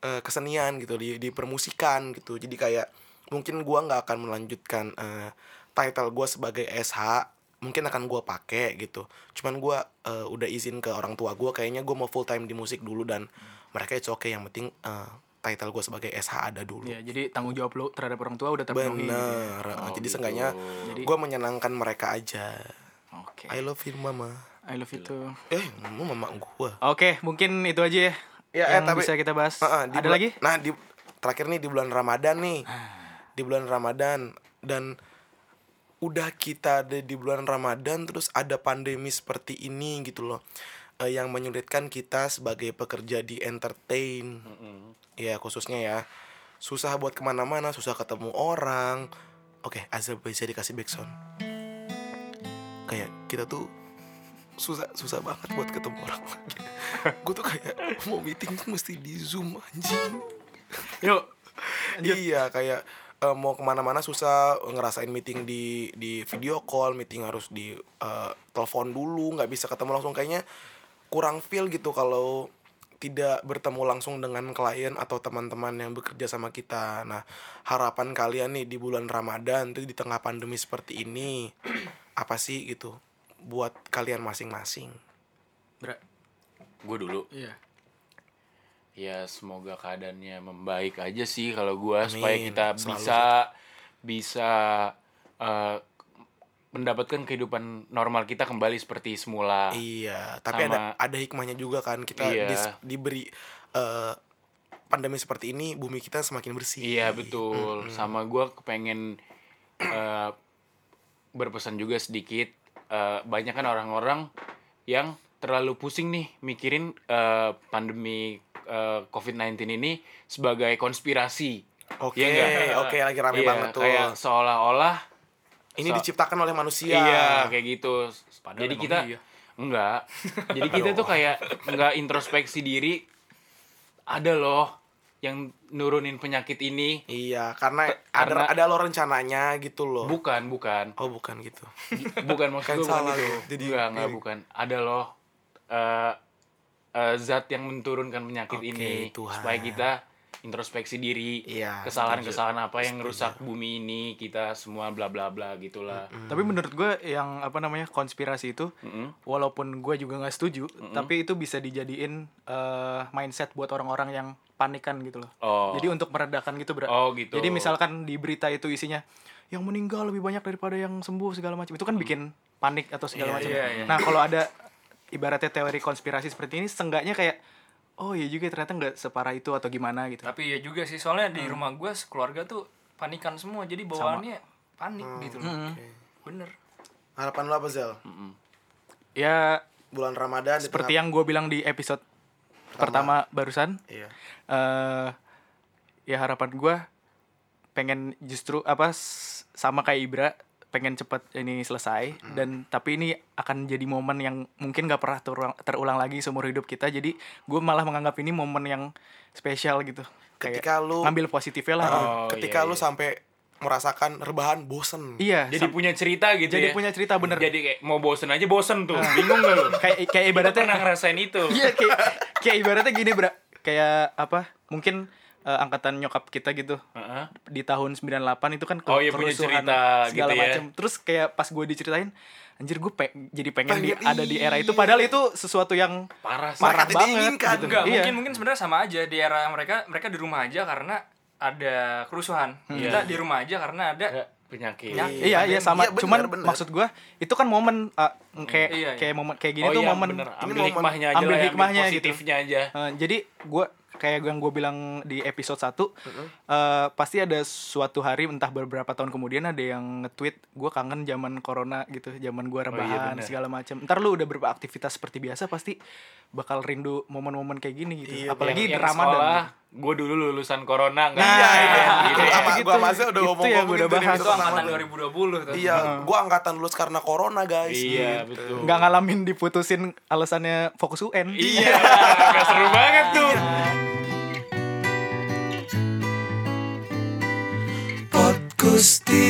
Speaker 2: eh, kesenian gitu di di permusikan gitu jadi kayak mungkin gua nggak akan melanjutkan eh, title gua sebagai SH mungkin akan gua pakai gitu cuman gua eh, udah izin ke orang tua gua kayaknya gua mau full time di musik dulu dan mereka itu oke yang penting eh, title gua sebagai SH ada dulu
Speaker 1: Iya, jadi tanggung jawab lo terhadap orang tua udah terpenuhi.
Speaker 2: bener Eh, jadi seenggaknya
Speaker 1: gitu. Jadi-
Speaker 2: gua menyenangkan mereka aja
Speaker 1: Oke.
Speaker 2: I love you mama
Speaker 1: I love you too.
Speaker 2: eh mau mama gua
Speaker 1: Oke, mungkin itu aja ya.
Speaker 2: Ya, eh,
Speaker 1: yang
Speaker 2: tapi-
Speaker 1: bisa kita bahas.
Speaker 2: Heeh, di
Speaker 1: Ada
Speaker 2: bulan-
Speaker 1: lagi? Ah.
Speaker 2: Nah, di terakhir nih di bulan Ramadan nih. Di bulan Ramadan dan udah kita ada di bulan Ramadan terus ada pandemi seperti ini gitu loh. Eh, yang menyulitkan kita sebagai pekerja di entertain. Ya, khususnya ya. Susah buat kemana-mana, susah ketemu orang. Oke, Azab bisa dikasih backsound. Kayak kita tuh susah susah banget buat ketemu orang lagi gue tuh kayak mau meeting tuh mesti di zoom anjing
Speaker 1: Yuk.
Speaker 2: iya kayak eh, mau kemana-mana susah ngerasain meeting di di video call meeting harus di eh, telepon dulu nggak bisa ketemu langsung kayaknya kurang feel gitu kalau tidak bertemu langsung dengan klien atau teman-teman yang bekerja sama kita. Nah, harapan kalian nih di bulan Ramadan tuh di tengah pandemi seperti ini apa sih gitu buat kalian masing-masing.
Speaker 1: Bra.
Speaker 5: Gue dulu.
Speaker 1: Iya.
Speaker 5: Ya semoga keadaannya membaik aja sih kalau gua supaya
Speaker 2: Amin.
Speaker 5: kita
Speaker 2: Selalu
Speaker 5: bisa bisa eh, mendapatkan kehidupan normal kita kembali seperti semula.
Speaker 2: Iya, tapi ada
Speaker 5: Ah, Sama-
Speaker 2: ada hikmahnya juga kan kita
Speaker 5: Iya.
Speaker 2: dis- diberi eh, pandemi seperti ini bumi kita semakin bersih.
Speaker 5: Iya betul. Sama gua kepengen eh, berpesan juga sedikit. Eh, banyak kan orang-orang yang terlalu pusing nih mikirin eh, pandemi eh, COVID-19 ini sebagai konspirasi.
Speaker 2: Oke,
Speaker 5: Iya nggak?
Speaker 2: oke lagi rame
Speaker 5: Iya,
Speaker 2: banget tuh.
Speaker 5: Kayak seolah-olah
Speaker 2: ini
Speaker 5: so-
Speaker 2: diciptakan oleh manusia.
Speaker 5: Iya, kayak gitu.
Speaker 3: emang
Speaker 5: Jadi kita
Speaker 3: iya.
Speaker 5: enggak. Jadi kita tuh kayak enggak introspeksi diri. Ada loh yang nurunin penyakit ini.
Speaker 2: Iya, karena,
Speaker 5: karena-
Speaker 2: ada ada lo rencananya gitu loh.
Speaker 5: Bukan, bukan.
Speaker 2: oh, bukan gitu.
Speaker 5: Bukan maksud
Speaker 2: Kan
Speaker 5: gue bukan
Speaker 2: salah
Speaker 5: gitu.
Speaker 2: ya, jadi-
Speaker 5: enggak, enggak
Speaker 2: iya.
Speaker 5: bukan. Ada loh eh, eh, zat yang menurunkan penyakit
Speaker 2: Oke,
Speaker 5: ini
Speaker 2: Tuhan.
Speaker 5: supaya kita introspeksi diri.
Speaker 2: Iya,
Speaker 5: Kesalahan-kesalahan apa yang rusak bumi ini kita semua bla bla bla gitulah.
Speaker 1: Tapi menurut gue yang apa namanya konspirasi itu, walaupun gue juga nggak setuju, tapi itu bisa dijadiin eh, mindset buat orang-orang yang panikan gitu loh.
Speaker 5: Oh.
Speaker 1: Jadi untuk meredakan gitu, bro.
Speaker 5: Oh, gitu.
Speaker 1: Jadi misalkan di berita itu isinya, yang meninggal lebih banyak daripada yang sembuh segala macam itu kan bikin panik atau segala macam
Speaker 3: iya, iya.
Speaker 1: nah kalau ada ibaratnya teori konspirasi seperti ini seenggaknya kayak oh iya juga ternyata nggak separah itu atau gimana gitu
Speaker 3: Tapi ya juga sih soalnya di rumah gue sekeluarga tuh panikan semua jadi bawaannya panik gitu loh. Bener.
Speaker 2: Harapan lo apa Zel?
Speaker 5: Hmm.
Speaker 1: ya
Speaker 2: Bulan Ramadan di
Speaker 1: seperti
Speaker 2: tengah-
Speaker 1: yang gue bilang di episode pertama, barusan
Speaker 2: Iya.
Speaker 1: eh ya harapan gue pengen justru apa s- sama kayak Ibra pengen cepat ini selesai
Speaker 2: Hmm.
Speaker 1: dan tapi ini akan jadi momen yang mungkin gak pernah terulang, terulang lagi seumur hidup kita jadi gue malah menganggap ini momen yang spesial gitu
Speaker 2: Ketika lu-
Speaker 1: ngambil positifnya lah
Speaker 5: Oh, iya,
Speaker 2: Ah, ketika lu sampai merasakan rebahan bosen.
Speaker 1: iya
Speaker 5: Jadi
Speaker 1: sam-
Speaker 5: punya cerita gitu
Speaker 1: jadi
Speaker 5: ya.
Speaker 1: punya cerita bener
Speaker 5: Jadi kayak mau bosen aja bosen tuh. Bingung gak lu?
Speaker 1: kayak kayak
Speaker 5: Kita
Speaker 1: ibaratnya
Speaker 5: pernah ngerasain itu.
Speaker 1: Iya kayak kayak ibaratnya gini, Bra. Kayak apa? Mungkin eh, angkatan nyokap kita gitu.
Speaker 5: Heeh.
Speaker 1: Di tahun 98 itu kan ke-
Speaker 5: Oh, iya, punya
Speaker 1: kerusuhan
Speaker 5: cerita
Speaker 1: segala
Speaker 5: gitu ya.
Speaker 1: macam. Terus kayak pas gue diceritain, anjir gue pe- jadi pengen di-
Speaker 2: Pengen,
Speaker 1: ada di era
Speaker 5: iya.
Speaker 1: itu padahal itu sesuatu yang
Speaker 5: Parah sih.
Speaker 1: parah
Speaker 2: Mereka tidak
Speaker 1: banget.
Speaker 2: inginkan.
Speaker 1: gitu.
Speaker 3: Enggak,
Speaker 1: Iya.
Speaker 3: mungkin mungkin sebenarnya sama aja di era mereka mereka di rumah aja karena ada kerusuhan. Kita di rumah aja karena ada
Speaker 5: Ada Penyakit.
Speaker 3: Iya.
Speaker 1: Iya, iya sama.
Speaker 2: Iya, bener,
Speaker 1: Cuman
Speaker 2: bener.
Speaker 1: maksud gue itu kan momen ah, kayak
Speaker 3: Iya, iya.
Speaker 1: kayak momen kayak gini
Speaker 5: Oh
Speaker 1: tuh
Speaker 5: Hmm, iya,
Speaker 1: momen
Speaker 5: bener. Ambil
Speaker 2: momen-
Speaker 5: hikmahnya aja
Speaker 1: ambil
Speaker 5: lah ya,
Speaker 1: hikmahnya gitu.
Speaker 5: positifnya aja.
Speaker 1: Eh, jadi gue kayak yang gue bilang di episode 1 eh, pasti ada suatu hari entah beberapa tahun kemudian ada yang nge-tweet gue kangen zaman corona gitu, zaman gue rebahan
Speaker 5: Oh, iya, bener.
Speaker 1: segala macam. Ntar lu udah beraktivitas seperti biasa pasti bakal rindu momen-momen kayak gini gitu.
Speaker 2: Iya,
Speaker 1: Apalagi di
Speaker 5: Yang
Speaker 1: Ramadan.
Speaker 5: sekolah, Iya,
Speaker 1: gitu.
Speaker 5: Gue dulu lulusan corona nggak?
Speaker 1: Nah,
Speaker 2: Itu
Speaker 5: gitu ya.
Speaker 2: sama
Speaker 1: gitu.
Speaker 2: gua sama Zel udah
Speaker 1: Itu
Speaker 2: ngomong
Speaker 1: yang gua
Speaker 5: gitu
Speaker 1: udah bahas.
Speaker 3: itu angkatan 2020 tuh.
Speaker 2: Iya, gua angkatan lulus karena corona, guys.
Speaker 5: Iya,
Speaker 2: Gitu.
Speaker 5: betul.
Speaker 1: nggak ngalamin diputusin alasannya fokus UN.
Speaker 5: Iya, nggak seru banget tuh.
Speaker 2: Podcast